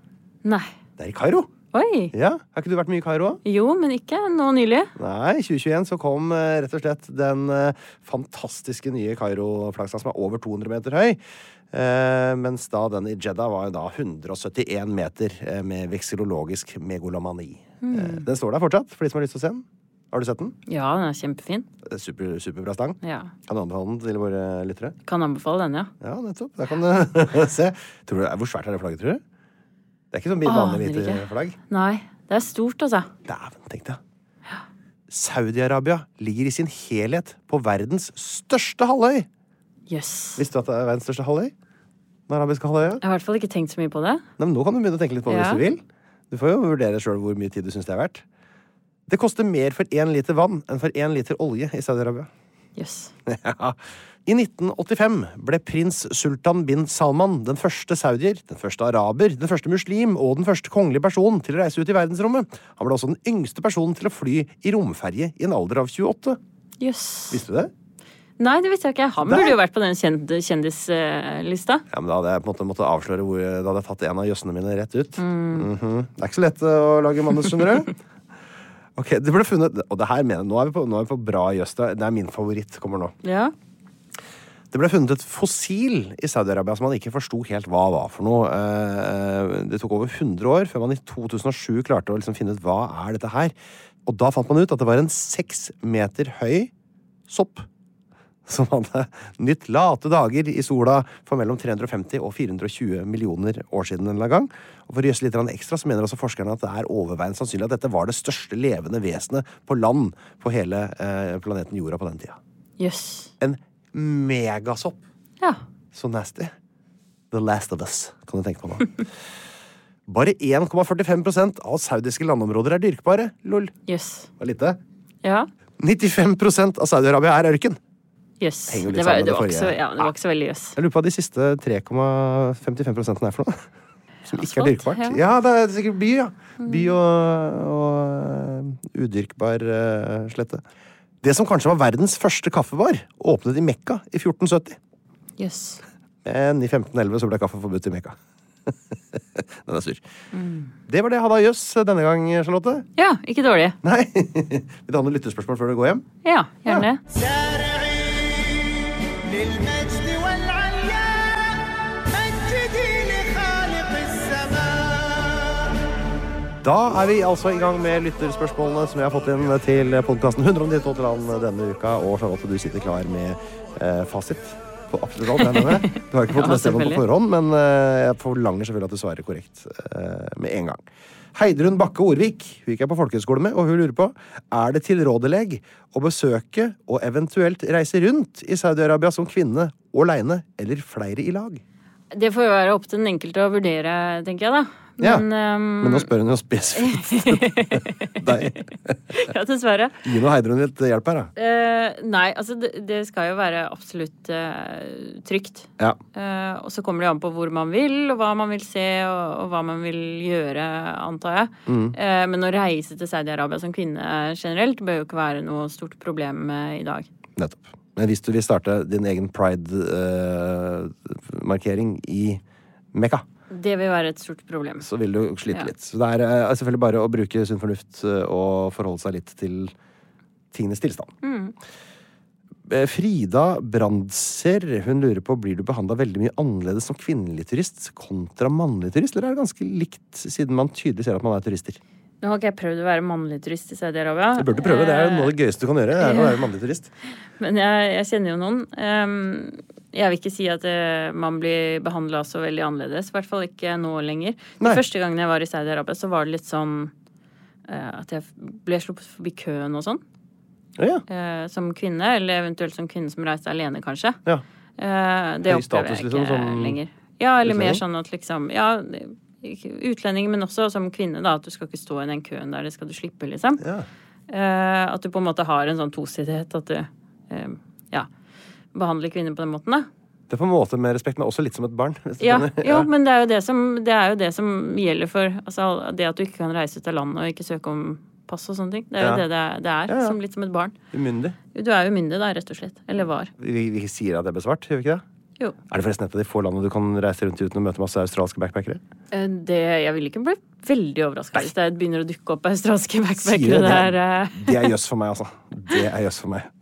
[SPEAKER 6] Nei.
[SPEAKER 3] Det er i Kairo.
[SPEAKER 6] Oi.
[SPEAKER 3] Ja, Har ikke du vært mye i Kairo?
[SPEAKER 6] Jo, men ikke nå nylig.
[SPEAKER 3] Nei, i 2021 så kom eh, rett og slett den eh, fantastiske nye Kairo-flaggstanga som er over 200 meter høy. Eh, mens da den i Jeddah var jo da 171 meter eh, med vekselologisk megolomani. Eh, den står der fortsatt, for de som har lyst til å se den. Har du sett den?
[SPEAKER 6] Ja, den er kjempefin.
[SPEAKER 3] Eh, Super, superbra stang.
[SPEAKER 6] Ja.
[SPEAKER 3] Kan du anbefale den til våre lyttere?
[SPEAKER 6] Kan anbefale den, ja.
[SPEAKER 3] Ja, nettopp. Der kan du se. Tror du, hvor svært er det flagget, tror du? Det er ikke sånn vanlig
[SPEAKER 6] Aner
[SPEAKER 3] hvite
[SPEAKER 6] ikke.
[SPEAKER 3] flagg.
[SPEAKER 6] Nei. Det er stort, altså.
[SPEAKER 3] Dæven, tenk deg. Saudi-Arabia ligger i sin helhet på verdens største halvøy.
[SPEAKER 6] Yes.
[SPEAKER 3] Visste du at det er verdens største halvøy? Den arabiske halvøya?
[SPEAKER 6] Jeg har i hvert fall ikke tenkt så mye på det.
[SPEAKER 3] Nei, men nå kan du begynne å tenke litt på det
[SPEAKER 6] Ja.
[SPEAKER 3] hvis du vil. Du får jo vurdere sjøl hvor mye tid du syns det er verdt. Det koster mer for én liter vann enn for én liter olje i Saudi-Arabia.
[SPEAKER 6] Yes.
[SPEAKER 3] Ja. I 1985 ble prins Sultan bin Salman den første saudier, den første araber, den første muslim og den første kongelige personen til å reise ut i verdensrommet. Han ble også den yngste personen til å fly i romferje i en alder av 28.
[SPEAKER 6] Yes.
[SPEAKER 3] Visste du det?
[SPEAKER 6] Nei, det visste jeg ikke. Han
[SPEAKER 3] Der.
[SPEAKER 6] burde jo vært på den kjend kjendislista.
[SPEAKER 3] Ja, men Da hadde jeg på en måte måttet avsløre hvor Da hadde jeg tatt en av jøssene mine rett ut. Mhm. Det er ikke så lett eh, å lage manus, skjønner du. Ok, det ble funnet, og det her mener jeg, nå er vi på, nå er vi på bra jøss. Det er- det er min favoritt. kommer nå.
[SPEAKER 6] Ja.
[SPEAKER 3] Det ble funnet et fossil i Saudi-Arabia som man ikke forsto helt hva var for noe. Eh, Det tok over 100 år før man i 2007 klarte å liksom finne ut hva er dette her. Og da fant man ut at det var en seks meter høy sopp som hadde nytt late dager i sola for mellom 350 og 420 millioner år siden. en eller annen gang. Og For å gjødsle litt grann ekstra så mener også forskerne at det er overveiende sannsynlig at dette var det største levende vesenet på land på hele eh, planeten jorda på den tida.
[SPEAKER 6] Yes.
[SPEAKER 3] En megasopp.
[SPEAKER 6] Ja.
[SPEAKER 3] Så nasty. The Last of Us, kan du tenke på nå. Bare 1,45 av saudiske landområder er dyrkbare. Lol.
[SPEAKER 6] Yes.
[SPEAKER 3] Det var lite.
[SPEAKER 6] Ja.
[SPEAKER 3] 95 av Saudi-Arabia er ørken.
[SPEAKER 6] Yes.
[SPEAKER 3] Henger jo litt
[SPEAKER 6] Det var,
[SPEAKER 3] sammen med
[SPEAKER 6] det, var
[SPEAKER 3] det
[SPEAKER 6] ikke så,
[SPEAKER 3] forrige.
[SPEAKER 6] ja, det var ikke så veldig yes.
[SPEAKER 3] Jeg lurer på hva de siste 3,55 er for noe. Som ikke er
[SPEAKER 6] Asfalt,
[SPEAKER 3] dyrkbart. Ja.
[SPEAKER 6] ja.
[SPEAKER 3] det er sikkert by, ja. By og, og eh, udyrkbar eh, slette. Det som kanskje var verdens første kaffebar, åpnet i Mekka i 1470.
[SPEAKER 6] Yes.
[SPEAKER 3] Men i 1511 så ble kaffe forbudt i Mekka. Den er sur. Det var det jeg hadde av jøss denne gang, Charlotte.
[SPEAKER 6] Ja, ikke dårlig.
[SPEAKER 3] Nei. Vil du ha noen lyttespørsmål før du går hjem?
[SPEAKER 6] Ja, gjerne.
[SPEAKER 5] للمجد والعلياء مجدي لخالق السماء
[SPEAKER 3] Da er vi altså i gang med lytterspørsmålene som jeg har fått inn til podkasten 100 om ditt og land denne uka. Og Charlotte, du sitter klar med eh, fasit på absolutt alt. Jeg mener. Du har ikke fått
[SPEAKER 6] Ja,
[SPEAKER 3] lest gjennom på
[SPEAKER 6] selvfølgelig.
[SPEAKER 3] forhånd, men eh, jeg forlanger selvfølgelig at du svarer korrekt eh, med en gang. Heidrun Bakke Orvik hun gikk jeg på folkehøyskole med, og hun lurer på er det tilrådelig å besøke og eventuelt reise rundt i Saudi-Arabia som kvinne aleine eller flere i lag.
[SPEAKER 6] Det får jo være opp til den enkelte å vurdere, tenker jeg, da.
[SPEAKER 3] Ja,
[SPEAKER 6] Men, ehm,
[SPEAKER 3] Men nå spør hun jo spesifikt deg.
[SPEAKER 6] ja, dessverre.
[SPEAKER 3] Gi nå Heidrun litt hjelp her, da.
[SPEAKER 6] Eh, nei, altså det, det skal jo være absolutt eh, trygt.
[SPEAKER 3] Ja.
[SPEAKER 6] Eh, og så kommer det jo an på hvor man vil, og hva man vil se, og, og hva man vil gjøre, antar jeg.
[SPEAKER 3] Mm.
[SPEAKER 6] Eh, men å reise til Saudi-Arabia som kvinne generelt bør jo ikke være noe stort problem eh, i dag.
[SPEAKER 3] Nettopp. Men hvis du vil starte din egen pride-markering i Mekka,
[SPEAKER 6] Det vil være et stort problem.
[SPEAKER 3] så vil du slite
[SPEAKER 6] Ja.
[SPEAKER 3] litt. Så det er eh, selvfølgelig bare å bruke sunn fornuft eh, og forholde seg litt til tingenes tilstand.
[SPEAKER 6] Mm.
[SPEAKER 3] Eh, Frida Brandser hun lurer på blir du behandla veldig mye annerledes som kvinnelig turist kontra mannlig turist, eller er det ganske likt, siden man tydelig ser at man er turister?
[SPEAKER 6] Nå har ikke jeg prøvd å være mannlig turist i Saudi-Arabia.
[SPEAKER 3] Du burde prøve, det er jo noe av det gøyeste du kan gjøre. er å
[SPEAKER 6] ja.
[SPEAKER 3] være mannlig turist.
[SPEAKER 6] Men jeg, jeg kjenner jo noen. Ehm, jeg vil ikke si at eh, man blir behandla så veldig annerledes. I hvert fall ikke nå lenger.
[SPEAKER 3] Nei.
[SPEAKER 6] De første gangene jeg var i Saudi-Arabia, så var det litt sånn eh, at jeg ble sluppet forbi køen og sånn.
[SPEAKER 3] Ja,
[SPEAKER 6] Eh, som kvinne, eller eventuelt som kvinne som reiste alene, kanskje.
[SPEAKER 3] Ja.
[SPEAKER 6] Eh, det
[SPEAKER 3] Høy
[SPEAKER 6] opplever jeg
[SPEAKER 3] status,
[SPEAKER 6] ikke
[SPEAKER 3] liksom, som
[SPEAKER 6] lenger. Ja, eller mer
[SPEAKER 3] utlending?
[SPEAKER 6] sånn at liksom Ja, ikke utlending, men også som kvinne, da. At du skal ikke stå i den køen der, det skal du slippe, liksom.
[SPEAKER 3] ja.
[SPEAKER 6] Eh, at du på en måte har en sånn tosidighet. At du eh, ja, behandler kvinner på den måten, da.
[SPEAKER 3] Det er på en måte med respekt, men også litt som et barn. Hvis du
[SPEAKER 6] Ja,
[SPEAKER 3] skjønner.
[SPEAKER 6] jo, men det er jo det som, det er jo det som gjelder for altså, det at du ikke kan reise ut av landet og ikke søke om pass og sånne ting. Det er
[SPEAKER 3] Ja.
[SPEAKER 6] jo det det er, det er
[SPEAKER 3] Ja, ja.
[SPEAKER 6] Som, litt som et barn.
[SPEAKER 3] Umyndig.
[SPEAKER 6] Du er umyndig, da, rett og slett. Eller var.
[SPEAKER 3] Vi, vi sier at det er besvart, gjør vi ikke det?
[SPEAKER 6] Jo.
[SPEAKER 3] Er det forresten et av de få landene du kan reise rundt i uten å møte masse australske backpackere?
[SPEAKER 6] Eh, Det, jeg vil ikke bli veldig overraska hvis det begynner å dukke opp australske
[SPEAKER 3] Sier du det?
[SPEAKER 6] backpackere der. eh.
[SPEAKER 3] Det er jøss for meg, altså. Det er jøss for meg.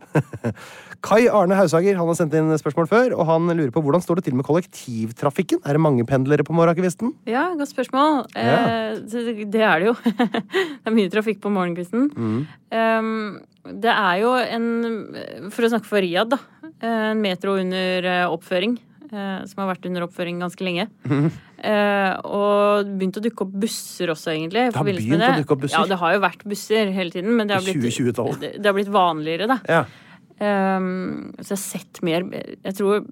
[SPEAKER 3] Kai Arne Haushager han har sendt inn spørsmål før, og han lurer på hvordan står det til med kollektivtrafikken? Er det mange pendlere på morgenkvisten?
[SPEAKER 6] Ja, godt spørsmål.
[SPEAKER 3] Ja.
[SPEAKER 6] Eh, det- det er det jo. det er mye trafikk på morgenkvisten.
[SPEAKER 3] Mm.
[SPEAKER 6] Um, det er jo en For å snakke for Riyadh, da. En metro under eh, oppføring. eh, som har vært under oppføring ganske lenge.
[SPEAKER 3] Mhm.
[SPEAKER 6] Eh, og det begynte å dukke opp busser også, egentlig. i
[SPEAKER 3] Det har
[SPEAKER 6] forbindelse
[SPEAKER 3] begynt
[SPEAKER 6] med
[SPEAKER 3] å dukke opp busser?
[SPEAKER 6] Ja, det har jo vært busser hele tiden, men det har
[SPEAKER 3] I
[SPEAKER 6] blitt,
[SPEAKER 3] 2020-tallet.
[SPEAKER 6] det, det har blitt vanligere, da.
[SPEAKER 3] Ja.
[SPEAKER 6] Ehm, så jeg har sett mer Jeg tror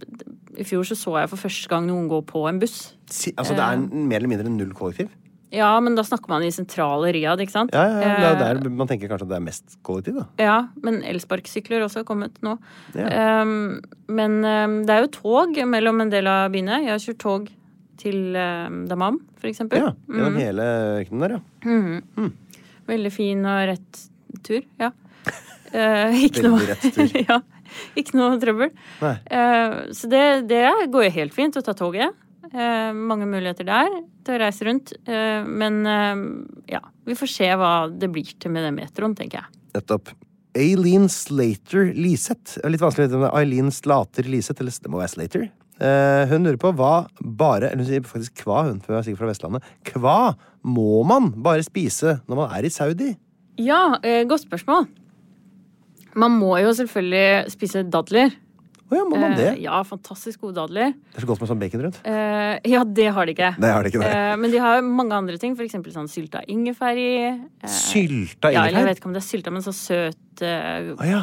[SPEAKER 6] I fjor så så jeg for første gang noen gå på en buss.
[SPEAKER 3] Si, altså, det er mer eller mindre null kollektiv?
[SPEAKER 6] Ja, men da snakker man i sentrale Riyadh, ikke sant?
[SPEAKER 3] Ja, ja, ja, det er jo
[SPEAKER 6] Eh,
[SPEAKER 3] der man tenker kanskje at det er mest kollektiv, da.
[SPEAKER 6] Ja, men elsparkesykler også har kommet nå.
[SPEAKER 3] Ja.
[SPEAKER 6] Ehm, men ehm, det er jo tog mellom en del av byene. Jeg har kjørt tog til ehm, Dammam, for eksempel.
[SPEAKER 3] Ja, Mm. Gjennom
[SPEAKER 6] Mhm.
[SPEAKER 3] hele ørkenen der, ja.
[SPEAKER 6] Mhm. Veldig fin og rett tur, ja. Eh, ikke noe,
[SPEAKER 3] Veldig rett tur.
[SPEAKER 6] ja, ikke noe trøbbel.
[SPEAKER 3] Nei.
[SPEAKER 6] Eh, så det, det går jo helt fint å ta toget. Eh, mange muligheter der til å reise rundt. Eh, men eh, ja, vi får se hva det blir til med den metroen, tenker jeg.
[SPEAKER 3] Nettopp. Aileen Slater Liseth. Det er Litt vanskelig å vite om det er Aileen Slater Liseth, eller det må være Slater. Eh, hun lurer på hva bare Eller hun sier faktisk hva, hun, for hun er sikkert fra Vestlandet. Hva må man bare spise når man er i Saudi?
[SPEAKER 6] Ja, eh, godt spørsmål. Man må jo selvfølgelig spise dadler.
[SPEAKER 3] Å ja, må man det?
[SPEAKER 6] Eh, ja, fantastisk gode dadler.
[SPEAKER 3] Det er så godt med sånn bacon rundt.
[SPEAKER 6] Eh, ja, det har de ikke.
[SPEAKER 3] Det har de ikke, nei.
[SPEAKER 6] Eh, men de har mange andre ting, for eksempel sånn sylta ingefær i. Eh,
[SPEAKER 3] Sylta
[SPEAKER 6] Ja, eller jeg
[SPEAKER 3] ingefær?
[SPEAKER 6] vet ikke om det er sylta, men så søt eh,
[SPEAKER 3] Å ja.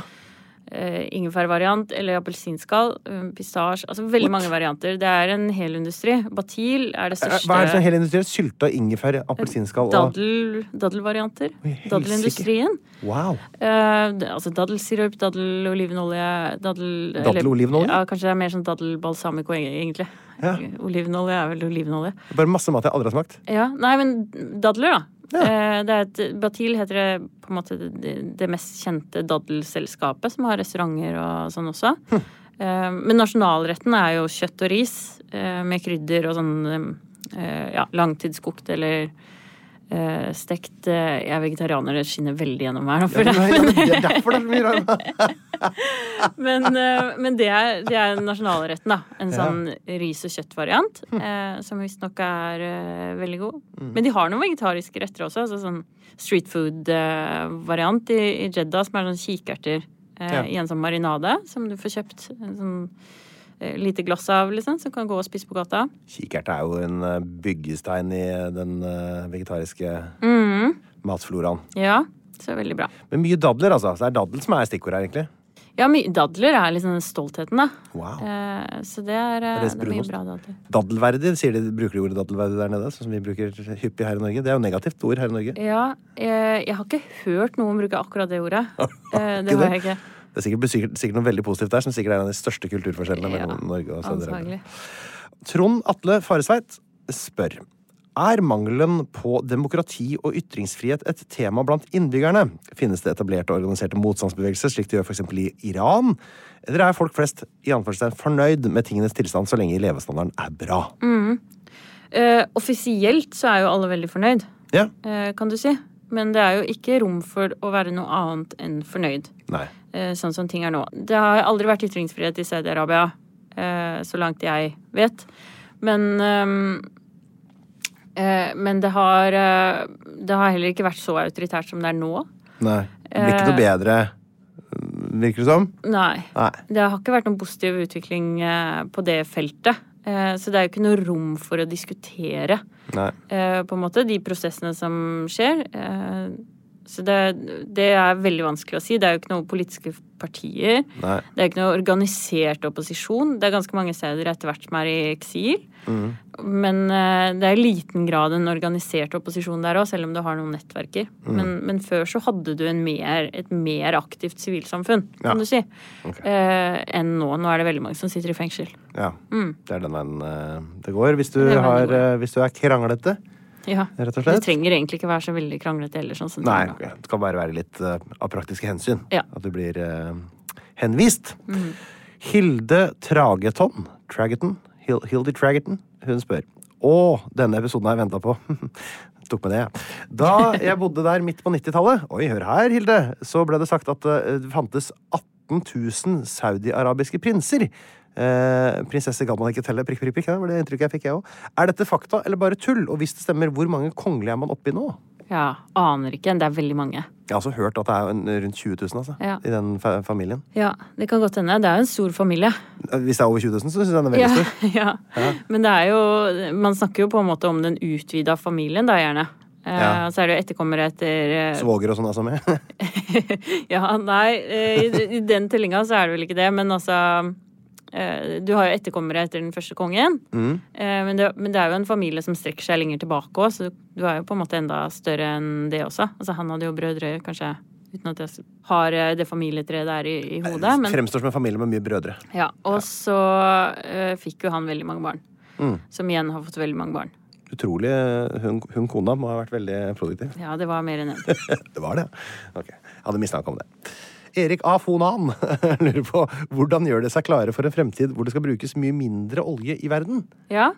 [SPEAKER 6] eh, ingefærvariant. Eller appelsinskall, eh, pistasje Altså veldig mange varianter. Det er en hel industri. Batil er det
[SPEAKER 3] Eh,
[SPEAKER 6] største.
[SPEAKER 3] Hva er det som er hele industrien? Sylta ingefær, appelsinskall og
[SPEAKER 6] Daddel, daddelvarianter.
[SPEAKER 3] helsike.
[SPEAKER 6] Daddelindustrien.
[SPEAKER 3] Wow!
[SPEAKER 6] Eh, det, altså daddelsirup, daddelolivenolje daddel,
[SPEAKER 3] Daddelolivenolje?
[SPEAKER 6] eller- Ja, kanskje det er mer sånn daddelbalsamico, eng- egentlig.
[SPEAKER 3] Ja.
[SPEAKER 6] Olivenolje er vel olivenolje.
[SPEAKER 3] Bare masse mat jeg aldri har smakt.
[SPEAKER 6] Ja, Nei, men dadler, da. Eh, det er et, Batil heter det på en måte det, det mest kjente daddelselskapet, som har restauranter og sånn også.
[SPEAKER 3] Hm.
[SPEAKER 6] Eh, men nasjonalretten er jo kjøtt og ris eh, med krydder og sånn eh, ja, langtidskokt eller eh, stekt eh, Jeg er vegetarianer, det skinner veldig gjennom her nå.
[SPEAKER 3] Ja,
[SPEAKER 6] føler jeg.
[SPEAKER 3] men, det er derfor det er så mye rart.
[SPEAKER 6] Men, eh, men det, er, det er nasjonalretten, da. En
[SPEAKER 3] Ja. Hm.
[SPEAKER 6] sånn ris- og kjøttvariant. Eh, som visstnok er eh, veldig god. Men de har noen vegetariske retter også. Altså sånn street food-variant i, i Jeddah, som er sånn kikerter eh,
[SPEAKER 1] Ja.
[SPEAKER 6] i en sånn marinade som du får kjøpt. En sånn eh, lite glass av, liksom, som kan gå og spise på gata.
[SPEAKER 3] Kikert er jo en eh, byggestein i den eh, vegetariske
[SPEAKER 6] Mm.
[SPEAKER 3] matfloraen.
[SPEAKER 6] Ja, så veldig bra.
[SPEAKER 3] Men mye dadler, altså. Så det er daddel som er stikkordet her, egentlig.
[SPEAKER 6] Ja, my, dadler er liksom stoltheten, da.
[SPEAKER 3] Wow.
[SPEAKER 6] Eh, så det er, eh,
[SPEAKER 3] Er det
[SPEAKER 6] det er mye
[SPEAKER 3] brunost?
[SPEAKER 6] bra dadler.
[SPEAKER 3] Daddelverdig, sier de, bruker de ordet daddelverdig der nede? Sånn som vi bruker hyppig her i Norge. Det er jo negativt ord her i Norge.
[SPEAKER 6] Ja, eh, jeg har ikke hørt noen bruke akkurat det ordet. Eh, det
[SPEAKER 3] Ikke
[SPEAKER 6] har
[SPEAKER 3] det?
[SPEAKER 6] jeg ikke.
[SPEAKER 3] Det er sikkert, sikkert, sikkert noe veldig positivt der, som sikkert er en av de største kulturforskjellene mellom Norge og Saudi-Arabia.
[SPEAKER 6] Antagelig.
[SPEAKER 3] Trond Atle Faresveit spør Er mangelen på demokrati og ytringsfrihet et tema blant innbyggerne? Finnes det etablerte og organiserte motstandsbevegelser, slik de gjør f.eks. i Iran? Eller er folk flest i anførselstegn fornøyd med tingenes tilstand så lenge levestandarden er bra?
[SPEAKER 6] Mm. Eh, offisielt så er jo alle veldig fornøyd,
[SPEAKER 3] Ja?
[SPEAKER 6] eh, kan du si. Men det er jo ikke rom for å være noe annet enn fornøyd,
[SPEAKER 3] Nei.
[SPEAKER 6] eh, sånn som ting er nå. Det har aldri vært ytringsfrihet i Saudi-Arabia, eh, så langt jeg vet. Men ehm, eh, Men det har eh, Det har heller ikke vært så autoritært som det er nå.
[SPEAKER 3] Nei. Det blir
[SPEAKER 6] Eh.
[SPEAKER 3] ikke noe bedre, virker det som?
[SPEAKER 6] Nei.
[SPEAKER 3] Nei.
[SPEAKER 6] Det har ikke vært noen positiv utvikling eh, på det feltet. Eh, Så det er jo ikke noe rom for å diskutere
[SPEAKER 3] Nei.
[SPEAKER 6] eh, på en måte, de prosessene som skjer. Eh, Så det, det er veldig vanskelig å si. Det er jo ikke noen politiske partier.
[SPEAKER 3] Nei.
[SPEAKER 6] Det er ikke noe organisert opposisjon. Det er ganske mange steder etter hvert som er i eksil.
[SPEAKER 3] Mm.
[SPEAKER 6] Men eh, det er i liten grad en organisert opposisjon der òg, selv om du har noen nettverker.
[SPEAKER 3] Mm.
[SPEAKER 6] Men, men før så hadde du en mer, et mer aktivt sivilsamfunn,
[SPEAKER 3] Ja.
[SPEAKER 6] kan du si, eh, enn nå. Nå er det veldig mange som sitter i fengsel.
[SPEAKER 3] Ja.
[SPEAKER 6] Mm.
[SPEAKER 3] Det er den veien eh, det går. Hvis du,
[SPEAKER 6] Det er den veien
[SPEAKER 3] har,
[SPEAKER 6] det går.
[SPEAKER 3] eh, hvis du er kranglete,
[SPEAKER 6] Ja.
[SPEAKER 3] rett og slett.
[SPEAKER 6] Det trenger egentlig ikke være så veldig kranglete heller. Sånn som det
[SPEAKER 3] Nei,
[SPEAKER 6] er nå.
[SPEAKER 3] det kan bare være litt eh, av praktiske hensyn.
[SPEAKER 6] Ja.
[SPEAKER 3] At du blir eh, henvist.
[SPEAKER 6] Mhm.
[SPEAKER 3] Hilde Trageton Trageton? Hil Hilde Trageton? Hun spør. Å, denne episoden har jeg venta på. Tok med det, jeg. Da jeg bodde der midt på 90-tallet, oi, hør her, Hilde, så ble det sagt at eh, det fantes 18 000 saudiarabiske prinser. Eh, prinsesse kan man ikke telle, prikk, prikk, prikk. Det var det inntrykket jeg fikk, jeg òg. Er dette fakta eller bare tull? Og hvis det stemmer, hvor mange kongelige er man oppe i nå?
[SPEAKER 6] Ja, aner ikke. Det er veldig mange.
[SPEAKER 3] Jeg har også hørt at det er en, rundt 20 000 altså,
[SPEAKER 6] Ja.
[SPEAKER 3] i den fa familien.
[SPEAKER 6] Ja, det kan godt hende. Det er jo en stor familie.
[SPEAKER 3] Hvis det er over 20 000, så syns jeg den er veldig
[SPEAKER 6] Ja,
[SPEAKER 3] stor.
[SPEAKER 6] ja.
[SPEAKER 3] Ja.
[SPEAKER 6] Men det er jo Man snakker jo på en måte om den utvida familien, da, gjerne. Eh,
[SPEAKER 3] Ja.
[SPEAKER 6] Så er det jo etterkommere etter eh,
[SPEAKER 3] Svoger og sånn altså med.
[SPEAKER 6] Ja, nei, eh, i i den tellinga så er det vel ikke det, men altså eh, Du har jo etterkommere etter den første kongen,
[SPEAKER 3] Mm.
[SPEAKER 6] eh, men det, men det er jo en familie som strekker seg lenger tilbake òg, så du er jo på en måte enda større enn det også. Altså, han hadde jo brødre, kanskje, uten at jeg s- har eh, det familietreet der i, i hodet, men
[SPEAKER 3] Fremstår som en familie med mye brødre.
[SPEAKER 6] ja, Og så eh, fikk jo han veldig mange barn,
[SPEAKER 3] Mm.
[SPEAKER 6] som igjen har fått veldig mange barn.
[SPEAKER 3] Utrolig. eh, Hun, hun kona må ha vært veldig produktiv.
[SPEAKER 6] Ja, det var mer enn én.
[SPEAKER 3] det var det. Ok, Jeg hadde mistanke om det. Erik A. Fonan lurer på hvordan gjør det seg klare for en fremtid hvor det skal brukes mye mindre olje i verden?
[SPEAKER 6] Ja.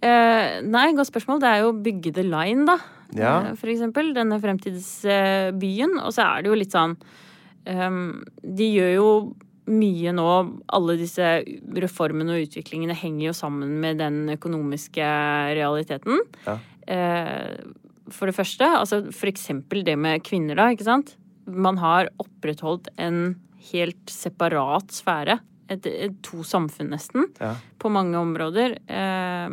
[SPEAKER 6] Eh, nei, godt spørsmål. Det er jo bygge the line, da.
[SPEAKER 3] Ja.
[SPEAKER 6] Eh, For eksempel. Denne fremtidsbyen. Og så er det jo litt sånn ehm, De gjør jo mye nå. Alle disse reformene og utviklingene henger jo sammen med den økonomiske realiteten.
[SPEAKER 3] Ja.
[SPEAKER 6] Eh, for det første, altså for eksempel det med kvinner, da, ikke sant? Man har opprettholdt en helt separat sfære. Et, et, to samfunn, nesten
[SPEAKER 3] Ja.
[SPEAKER 6] på mange områder. Eh,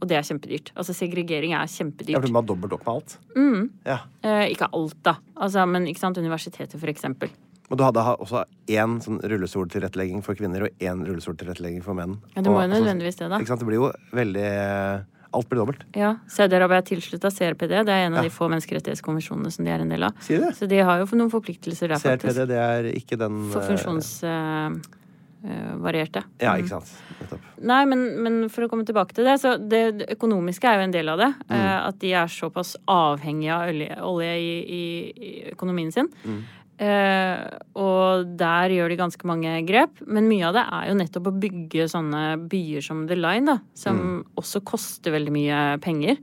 [SPEAKER 6] og det er kjempedyrt. Altså segregering er
[SPEAKER 3] Jeg
[SPEAKER 6] kjempedyrt.
[SPEAKER 3] blir bare dobbelt opp med alt.
[SPEAKER 6] Mm.
[SPEAKER 3] Ja.
[SPEAKER 6] Eh, ikke alt, da. Altså, men ikke sant, universitetet, for eksempel.
[SPEAKER 3] Og du hadde ha- også én sånn rullestoltilrettelegging for kvinner og én rullestoltilrettelegging for menn.
[SPEAKER 6] Ja, det må
[SPEAKER 3] Og-
[SPEAKER 6] jo
[SPEAKER 3] altså,
[SPEAKER 6] nødvendigvis det, da.
[SPEAKER 3] Ikke sant? Det blir jo veldig eh, Alt blir dobbelt.
[SPEAKER 6] Ja, Saudi-Arabia er tilslutta CRPD. Det er en av
[SPEAKER 3] Ja.
[SPEAKER 6] de få menneskerettighetskonvensjonene som de er en del av.
[SPEAKER 3] Si det.
[SPEAKER 6] Så de har jo noen forpliktelser der,
[SPEAKER 3] CRPD,
[SPEAKER 6] faktisk.
[SPEAKER 3] det er ikke den
[SPEAKER 6] For eh,
[SPEAKER 3] eh,
[SPEAKER 6] funksjonsvarierte.
[SPEAKER 3] Ja, ikke sant. Nettopp.
[SPEAKER 6] Nei, men, men for å komme tilbake til det, så det, det økonomiske er jo en del av det.
[SPEAKER 3] Mm.
[SPEAKER 6] Eh, at de er såpass avhengige av olje, olje i, i, i økonomien sin.
[SPEAKER 3] Mm.
[SPEAKER 6] Eh, og der gjør de ganske mange grep. Men mye av det er jo nettopp å bygge sånne byer som The Line, da. Som
[SPEAKER 3] Mm.
[SPEAKER 6] også koster veldig mye penger.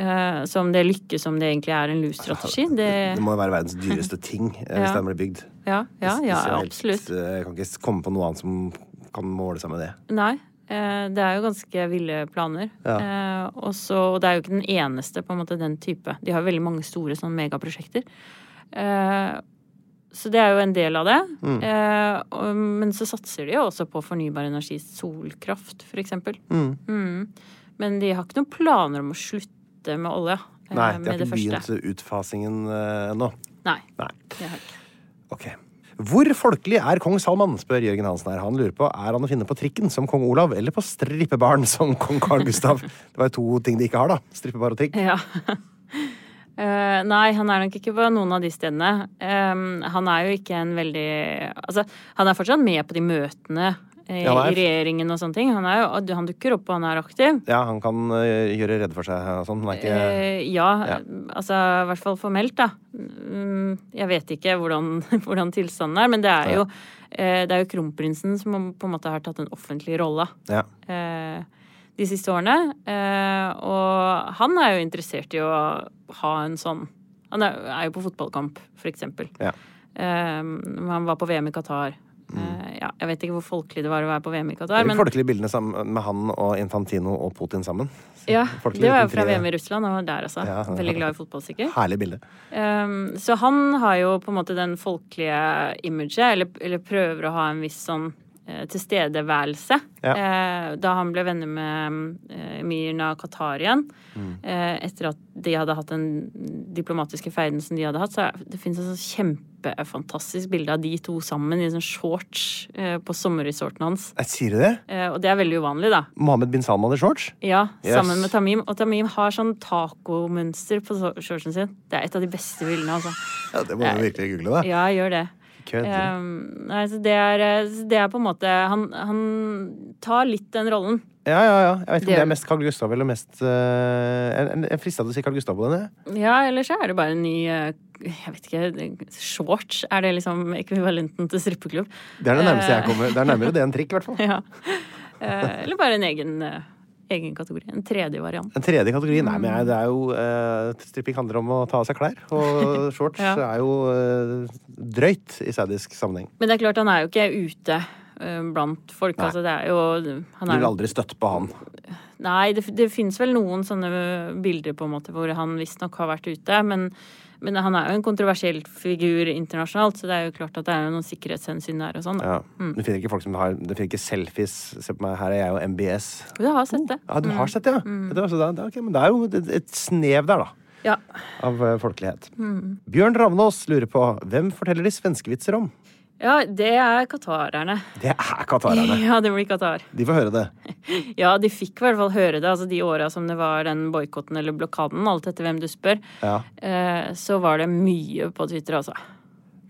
[SPEAKER 6] Eh, så om det lykkes, om det egentlig er en lur-strategi, det
[SPEAKER 3] Det må jo være verdens dyreste ting eh, hvis
[SPEAKER 6] Ja.
[SPEAKER 3] den blir bygd.
[SPEAKER 6] Ja,
[SPEAKER 3] Hvis-
[SPEAKER 6] ja, ja
[SPEAKER 3] hvis jeg helt,
[SPEAKER 6] absolutt.
[SPEAKER 3] eh, Jeg kan ikke komme på noe annet som kan måle seg med det.
[SPEAKER 6] Nei. eh, Det er jo ganske ville planer.
[SPEAKER 3] Ja.
[SPEAKER 6] Eh, Og så- og det er jo ikke den eneste, på en måte, den type. De har jo veldig mange store sånn megaprosjekter. Eh, Så det er jo en del av det.
[SPEAKER 3] Mm.
[SPEAKER 6] Eh, og- Men så satser de jo også på fornybar energi, solkraft, for eksempel.
[SPEAKER 3] Mm.
[SPEAKER 6] Mm. Men de har ikke noen planer om å slutte med olje. eh,
[SPEAKER 3] Nei, de
[SPEAKER 6] med
[SPEAKER 3] har
[SPEAKER 6] det
[SPEAKER 3] ikke
[SPEAKER 6] første.
[SPEAKER 3] begynt utfasingen eh, ennå.
[SPEAKER 6] Nei.
[SPEAKER 3] Nei.
[SPEAKER 6] Det har ikke.
[SPEAKER 3] Ok. Hvor folkelig er kong Salman, spør Jørgen Hansen her. Han lurer på er han å finne på trikken som kong Olav, eller på strippebaren som kong Carl Gustav. Det var jo to ting de ikke har, da. Strippebar og trikk.
[SPEAKER 6] Ja. Eh, nei, han er nok ikke på noen av de stedene. Eh, han er jo ikke en veldig Altså, han er fortsatt med på de møtene eh,
[SPEAKER 3] Ja, han
[SPEAKER 6] i
[SPEAKER 3] er.
[SPEAKER 6] regjeringen og sånne ting. Han, er jo, han dukker opp, og han er aktiv.
[SPEAKER 3] Ja, han kan eh, gjøre redd for seg og sånn. Han er ikke
[SPEAKER 6] Eh, ja, altså i hvert fall formelt, da. Mm, Jeg vet ikke hvordan, hvordan tilstanden er, men det er jo, eh, det er jo kronprinsen som på en måte har tatt en offentlig rolle
[SPEAKER 3] Ja.
[SPEAKER 6] eh, de siste årene. Eh, og han er jo interessert i å ha en sånn Han er, er jo på fotballkamp, for eksempel.
[SPEAKER 3] Ja. Mm.
[SPEAKER 6] Eh, han var på VM i Qatar. Eh, ja, jeg vet ikke hvor folkelig det var å være på VM i
[SPEAKER 3] Det
[SPEAKER 6] Qatar,
[SPEAKER 3] er de
[SPEAKER 6] men
[SPEAKER 3] folkelige bildene sammen med han og Infantino og Putin sammen.
[SPEAKER 6] ja,
[SPEAKER 3] folkelig
[SPEAKER 6] det var jo
[SPEAKER 3] liten
[SPEAKER 6] fra
[SPEAKER 3] frie-
[SPEAKER 6] VM i Russland. Han var der, altså.
[SPEAKER 3] Ja, han-
[SPEAKER 6] Veldig glad i fotball, sikkert.
[SPEAKER 3] Herlig bilde.
[SPEAKER 6] Ehm, så han har jo på en måte den folkelige imaget, eller, eller prøver å ha en viss sånn eh, tilstedeværelse.
[SPEAKER 3] Ja.
[SPEAKER 6] Eh, da han ble venner med eh, emiren av Qatar igjen,
[SPEAKER 3] Mm.
[SPEAKER 6] eh, etter at de hadde hatt den diplomatiske feiden som de hadde hatt, så er- det fins et sånt kjempefantastisk bilde av de to sammen i sånn shorts eh, på sommerresorten hans.
[SPEAKER 3] Eh, Sier du det?
[SPEAKER 6] Eh, og det er veldig uvanlig, da.
[SPEAKER 3] Mohammed bin Salman i shorts?
[SPEAKER 6] Ja,
[SPEAKER 3] Yes.
[SPEAKER 6] sammen med Tamim. Og Tamim har sånn tacomønster på so- shortsen sin. Det er et av de beste bildene, altså.
[SPEAKER 3] Ja, det må du
[SPEAKER 6] Eh,
[SPEAKER 3] virkelig google, da.
[SPEAKER 6] Ja, gjør det.
[SPEAKER 3] Kødder.
[SPEAKER 6] Ehm, nei, så det er, eh, så det er på en måte han, han tar litt den rollen.
[SPEAKER 3] Ja, ja, ja. Jeg vet ikke om
[SPEAKER 6] det-
[SPEAKER 3] det er mest Carl Gustav eller mest eh, en- en- Jeg frista til å si Carl Gustav på den, jeg.
[SPEAKER 6] Ja, eller så er det bare en ny eh, Jeg vet ikke. Shorts? Er det liksom ekvivalenten til strippeklubb?
[SPEAKER 3] Det er det nærmeste jeg
[SPEAKER 6] Eh,
[SPEAKER 3] kommer. Det er nærmere det enn trikk, i hvert fall.
[SPEAKER 6] ja. Eh, eller bare en egen, eh, egen kategori. En tredje variant.
[SPEAKER 3] Den tredje kategorien Nei, men jeg, det er jo eh, Stripping handler om å ta av seg klær. Og shorts
[SPEAKER 6] Ja.
[SPEAKER 3] er jo eh, drøyt i saudisk sammenheng.
[SPEAKER 6] Men det er klart, han er jo ikke ute eh, blant folk.
[SPEAKER 3] Nei.
[SPEAKER 6] Altså, det er jo han
[SPEAKER 3] Du
[SPEAKER 6] er,
[SPEAKER 3] vil aldri støtte på han.
[SPEAKER 6] Nei, det, det finnes vel noen sånne bilder på en måte hvor han visstnok har vært ute. Men, men han er jo en kontroversiell figur internasjonalt, så det er jo klart at det er jo noen sikkerhetshensyn der og sånn. da.
[SPEAKER 3] Ja.
[SPEAKER 6] Mm.
[SPEAKER 3] Du finner ikke folk som har Du finner ikke selfies. Se på meg, her er jeg og MBS.
[SPEAKER 6] Jo, jeg har sett det.
[SPEAKER 3] Ja, du har sett det, ja.
[SPEAKER 6] Mm.
[SPEAKER 3] Vet du hva, så det, er- det, er- ok, men det er jo et, et snev der, da.
[SPEAKER 6] Ja.
[SPEAKER 3] Av eh, folkelighet.
[SPEAKER 6] Mm.
[SPEAKER 3] Bjørn Ravnås lurer på hvem forteller de svenskevitser om?
[SPEAKER 6] ja, det er qatarerne.
[SPEAKER 3] Det er qatarerne.
[SPEAKER 6] Ja, det blir Qatar.
[SPEAKER 3] De får høre det.
[SPEAKER 6] Ja, de fikk i hvert fall høre det. Altså de åra som det var den boikotten eller blokaden, alt etter hvem du spør,
[SPEAKER 3] Ja,
[SPEAKER 6] eh, så var det mye på Twitter, altså.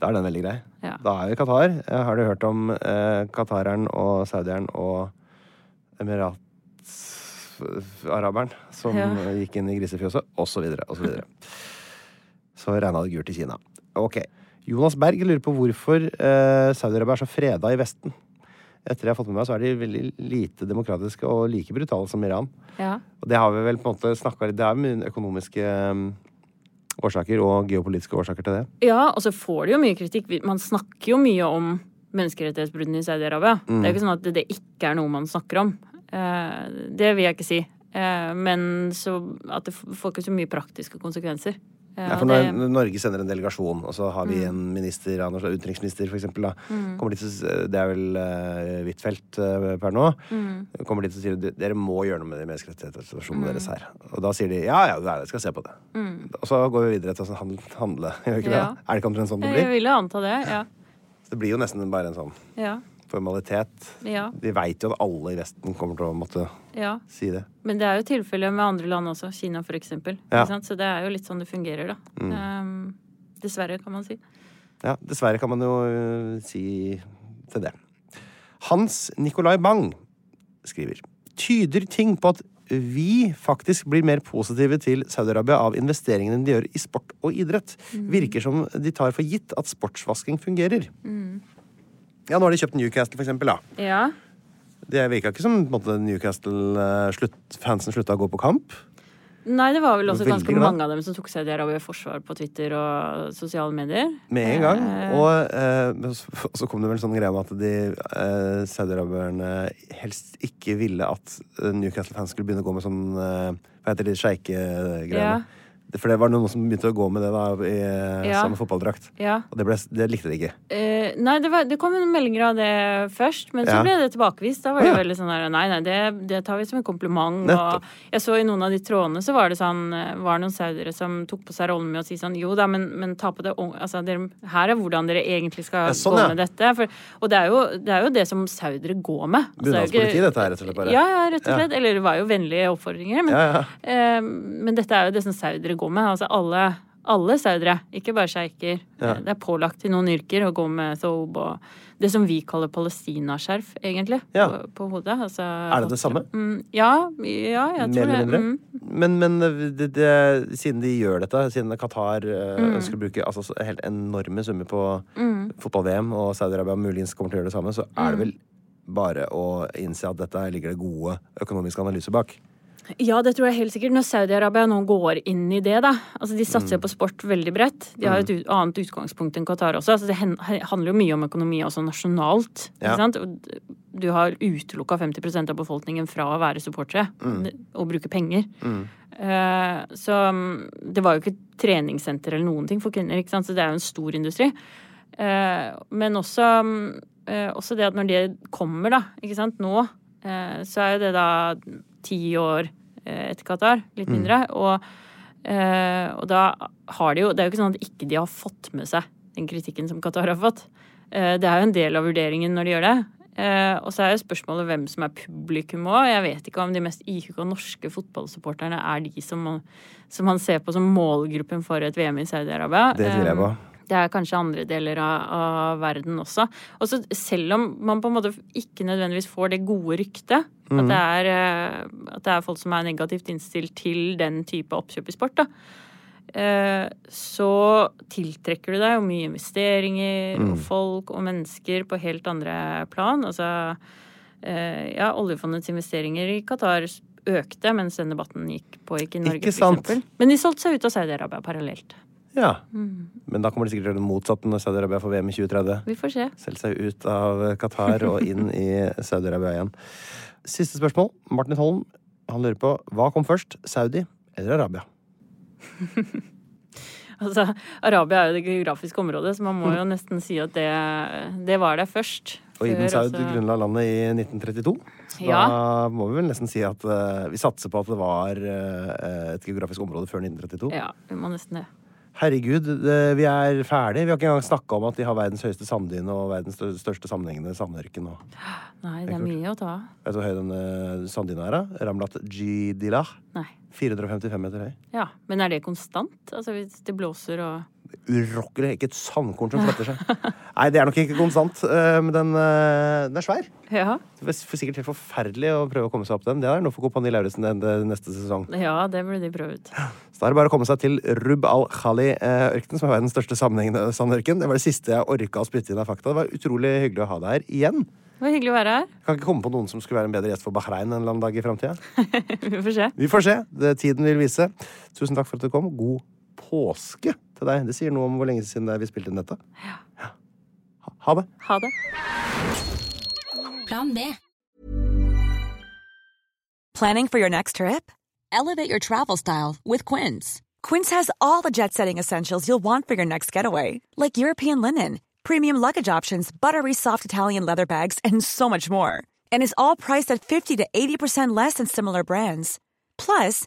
[SPEAKER 3] Da er den veldig grei.
[SPEAKER 6] Ja.
[SPEAKER 3] Da er vi i Qatar. Eh, Har du hørt om eh, qatareren og saudieren og emiratsaraberen som
[SPEAKER 6] Ja.
[SPEAKER 3] eh, gikk inn i grisefjøset, og så videre, og så videre. så regna det gult i Kina. Ok. Jonas Berg lurer på hvorfor eh, Saudi-Arabia er så freda i Vesten. Etter jeg har fått med meg, så er de veldig lite demokratiske og like brutale som Iran.
[SPEAKER 6] Ja.
[SPEAKER 3] Og det har vi vel på en måte snakket Det er mye økonomiske eh, årsaker og geopolitiske årsaker til det.
[SPEAKER 6] Ja, og så får de jo mye kritikk. Vi- Man snakker jo mye om menneskerettighetsbruddene i Saudi-Arabia.
[SPEAKER 3] Mm.
[SPEAKER 6] Det er jo ikke sånn at det- det ikke er noe man snakker om. Eh, det vil jeg ikke si. Eh, men så at det f- får ikke så mye praktiske konsekvenser. Eh,
[SPEAKER 3] Ja,
[SPEAKER 6] og
[SPEAKER 3] for når,
[SPEAKER 6] det-
[SPEAKER 3] når Norge sender en delegasjon, og så har vi
[SPEAKER 6] Mm.
[SPEAKER 3] en minister, av noe slag, utenriksminister for eksempel, da.
[SPEAKER 6] Mm.
[SPEAKER 3] Kommer de til, å s- det er vel eh, Huitfeldt eh, per nå.
[SPEAKER 6] Mm.
[SPEAKER 3] Kommer de til å si at dere må gjøre noe med den menneskerettighetssituasjonen deres her. Og da sier de ja, ja, ja, jeg skal se på det.
[SPEAKER 6] Mm.
[SPEAKER 3] Og så går vi videre til å sånn handle. handle. Gjør vi ikke
[SPEAKER 6] Ja.
[SPEAKER 3] det? Er det ikke omtrent sånn det
[SPEAKER 6] Jeg
[SPEAKER 3] blir?
[SPEAKER 6] ville anta det, ja.
[SPEAKER 3] Så det blir jo nesten bare en sånn
[SPEAKER 6] Ja.
[SPEAKER 3] formalitet.
[SPEAKER 6] Ja.
[SPEAKER 3] De veit jo at alle i Vesten kommer til å måtte
[SPEAKER 6] ja.
[SPEAKER 3] si det.
[SPEAKER 6] Men det er jo tilfellet med andre land også. Kina, for eksempel.
[SPEAKER 3] Ja.
[SPEAKER 6] Ikke sant? Så det er jo litt sånn det fungerer, da.
[SPEAKER 3] Mm.
[SPEAKER 6] Ehm, dessverre, kan man si.
[SPEAKER 3] Ja, dessverre kan man jo øh, si til det. Hans Nicolai Bang skriver tyder ting på at vi faktisk blir mer positive til Saudi-Arabia av investeringene de gjør i sport og idrett. Virker som de tar for gitt at sportsvasking fungerer. Ja, nå har de kjøpt Newcastle, for eksempel. Da.
[SPEAKER 6] Ja.
[SPEAKER 3] Det virka ikke som på en måte, Newcastle øh, slutt, fansen slutta å gå på kamp.
[SPEAKER 6] Nei, det var vel også
[SPEAKER 3] Veldig
[SPEAKER 6] ganske
[SPEAKER 3] glad.
[SPEAKER 6] mange av dem som tok seg Saudi-Arabia i forsvar på Twitter og sosiale medier.
[SPEAKER 3] Med en gang.
[SPEAKER 6] Eh,
[SPEAKER 3] Og eh, men så- og så kom det vel en sånn greie om at de eh, saudiarabierne helst ikke ville at eh, Newcastle-fans skulle begynne å gå med sånn eh, Hva heter de
[SPEAKER 6] Ja.
[SPEAKER 3] sjeikegreiene? Det- For det var noen som begynte å gå med det da i eh,
[SPEAKER 6] Ja.
[SPEAKER 3] samme fotballdrakt.
[SPEAKER 6] Ja.
[SPEAKER 3] Og det, ble, det likte de ikke.
[SPEAKER 6] Eh, nei, det, var, det kom en meldinger av det først, men
[SPEAKER 3] Ja.
[SPEAKER 6] så ble det tilbakevist. Da var
[SPEAKER 3] Å,
[SPEAKER 6] det
[SPEAKER 3] ja.
[SPEAKER 6] veldig sånn der Nei, nei, det, det tar vi som en kompliment.
[SPEAKER 3] Nettopp.
[SPEAKER 6] Og jeg så i noen av de trådene så var det sånn eh, Var det noen saudiere som tok på seg rollen med å si sånn Jo da, men, men ta på det ung- Altså, dere, her er hvordan dere egentlig skal
[SPEAKER 3] Ja, sånn,
[SPEAKER 6] gå
[SPEAKER 3] ja.
[SPEAKER 6] med dette. For, og det er, jo, det er jo det som saudere går med. Altså, det er jo ikke-
[SPEAKER 3] Bunadspoliti, dette her, rett og slett. bare.
[SPEAKER 6] Ja, ja, rett og
[SPEAKER 3] Ja.
[SPEAKER 6] slett. Eller det var jo vennlige oppfordringer. Men,
[SPEAKER 3] Ja,
[SPEAKER 6] eh, men dette er jo det som saudere går med. Altså alle, alle saudere, ikke bare sjeiker. Eh,
[SPEAKER 3] Ja.
[SPEAKER 6] Det er pålagt i noen yrker å gå med thobe og det som vi kaller palestinaskjerf, egentlig,
[SPEAKER 3] Ja.
[SPEAKER 6] på, på hodet. Altså,
[SPEAKER 3] Er det det samme?
[SPEAKER 6] Mm, ja, ja, jeg
[SPEAKER 3] Mer eller
[SPEAKER 6] tror det.
[SPEAKER 3] mindre?
[SPEAKER 6] Mm.
[SPEAKER 3] Men, men eh, det, det, siden de gjør dette, siden Qatar eh,
[SPEAKER 6] Mm.
[SPEAKER 3] ønsker å bruke altså, så helt enorme summer på
[SPEAKER 6] Mm.
[SPEAKER 3] fotball-VM, og Saudi-Arabia muligens kommer til å gjøre det samme, så er det vel bare å innse at dette ligger det gode økonomiske analyser bak.
[SPEAKER 6] Ja, det tror jeg helt sikkert. Når Saudi-Arabia nå går inn i det, da. Altså, de satser
[SPEAKER 3] Mm.
[SPEAKER 6] på sport veldig bredt. De har et ut- annet utgangspunkt enn Qatar også. Altså, det hen- he- handler jo mye om økonomi også nasjonalt.
[SPEAKER 3] Ja.
[SPEAKER 6] Ikke sant? Og d- Du har utelukka 50 av befolkningen fra å være supportere
[SPEAKER 3] Mm.
[SPEAKER 6] og bruke penger. Eh, Så mm, det var jo ikke et treningssenter eller noen ting for kvinner, ikke sant? så det er jo en stor industri. Eh, Men også, mm, eh, også det at når det kommer, da, ikke sant, nå, eh, så er jo det da ti år eh, etter Qatar, litt
[SPEAKER 3] Mm.
[SPEAKER 6] mindre. Og, eh, og da har de jo Det er jo ikke sånn at ikke de har fått med seg den kritikken som Qatar har fått. Eh, Det er jo en del av vurderingen når de gjør det. Eh, Og så er jo spørsmålet hvem som er publikum òg. Jeg vet ikke om de mest ihuga norske fotballsupporterne er de som man, som man ser på som målgruppen for et VM i Saudi-Arabia.
[SPEAKER 3] Det tviler jeg på.
[SPEAKER 6] Eh, Det er kanskje andre deler av, av verden også. Og så selv om man på en måte ikke nødvendigvis får det gode ryktet at,
[SPEAKER 3] Mhm.
[SPEAKER 6] det er, eh, at det er folk som er negativt innstilt til den type oppkjøp i sport, da eh, så tiltrekker du deg jo mye investeringer
[SPEAKER 3] Mm.
[SPEAKER 6] og folk og mennesker på helt andre plan. Altså eh, ja, oljefondets investeringer i Qatar økte mens den debatten gikk pågikk i Norge,
[SPEAKER 3] Ikke sant?
[SPEAKER 6] for eksempel. Men de solgte seg ut av Saudi-Arabia parallelt.
[SPEAKER 3] Ja.
[SPEAKER 6] Mm.
[SPEAKER 3] Men da kommer de sikkert til å gjøre det motsatte når Saudi-Arabia får VM i 2030.
[SPEAKER 6] Vi får se.
[SPEAKER 3] Selge seg ut av Qatar og inn i Saudi-Arabia igjen. Siste spørsmål. Martin Holm Han lurer på hva kom først, Saudi eller Arabia?
[SPEAKER 6] Altså, Arabia er jo det geografiske området, så man må jo nesten si at det, det var der først.
[SPEAKER 3] Og Ibn
[SPEAKER 6] Før,
[SPEAKER 3] Saud
[SPEAKER 6] altså-
[SPEAKER 3] grunnla landet i 1932. Så
[SPEAKER 6] Ja.
[SPEAKER 3] da må vi vel nesten si at eh, vi satser på at det var eh, et geografisk område før 1932.
[SPEAKER 6] Ja, vi må nesten det.
[SPEAKER 3] Herregud, det, vi er ferdig. Vi har ikke engang snakka om at de har verdens høyeste sanddyne og verdens stør- største sammenhengende sandørken. Og,
[SPEAKER 6] Nei, det er mye å ta av.
[SPEAKER 3] vet du hvor høy denne sanddyna er? da? Ramlat Jidilah.
[SPEAKER 6] Nei.
[SPEAKER 3] 455 meter høy.
[SPEAKER 6] Ja, men er det konstant? Altså hvis det blåser og
[SPEAKER 3] Urokkelig. Ikke et sandkorn som fletter seg. Nei, det er nok ikke konstant, eh, men den, eh, den er svær.
[SPEAKER 6] Ja,
[SPEAKER 3] Det var sikkert helt forferdelig å prøve å komme seg opp den. Det er noe for Kompani Lauritzen den- den neste sesong.
[SPEAKER 6] ja det burde de prøve ut.
[SPEAKER 3] Så da er det bare å komme seg til Rub al-Khali-ørkenen, som er verdens største sammenhengende sandørken. Det var det siste jeg orka å spytte inn av fakta. Det var utrolig hyggelig å ha deg her igjen.
[SPEAKER 6] Det var hyggelig å være her.
[SPEAKER 3] Jeg kan ikke komme på noen som skulle være en bedre gjest for Bahrain en eller annen dag i framtida.
[SPEAKER 6] Vi får se.
[SPEAKER 3] Vi får se. Det tiden vil vise. Tusen takk for at du kom. God påske til deg. Det sier noe om hvor lenge siden det er vi spilte inn dette. Ja. Ha- Ha det.
[SPEAKER 6] Ha det.
[SPEAKER 11] Plan B.
[SPEAKER 1] Planning for your next trip? Elevate your travel style with Quince. Quince has all the jet setting essentials you'll want for your next getaway, like European linen, premium luggage options, buttery soft Italian leather bags, and so much more. And is all priced at 50 to 80% less than similar brands. Plus,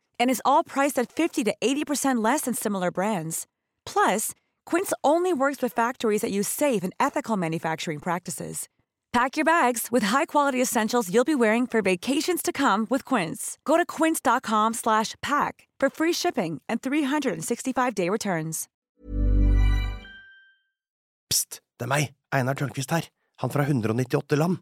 [SPEAKER 1] And is all priced at 50 to 80% less than similar brands. Plus, Quince only works with factories that use safe and ethical manufacturing practices. Pack your bags with high-quality essentials you'll be wearing for vacations to come with Quince. Go to quince.com slash pack for free shipping and 365-day returns.
[SPEAKER 3] Pst, det er meg, Einar Tørnquist her, han fra 198 land.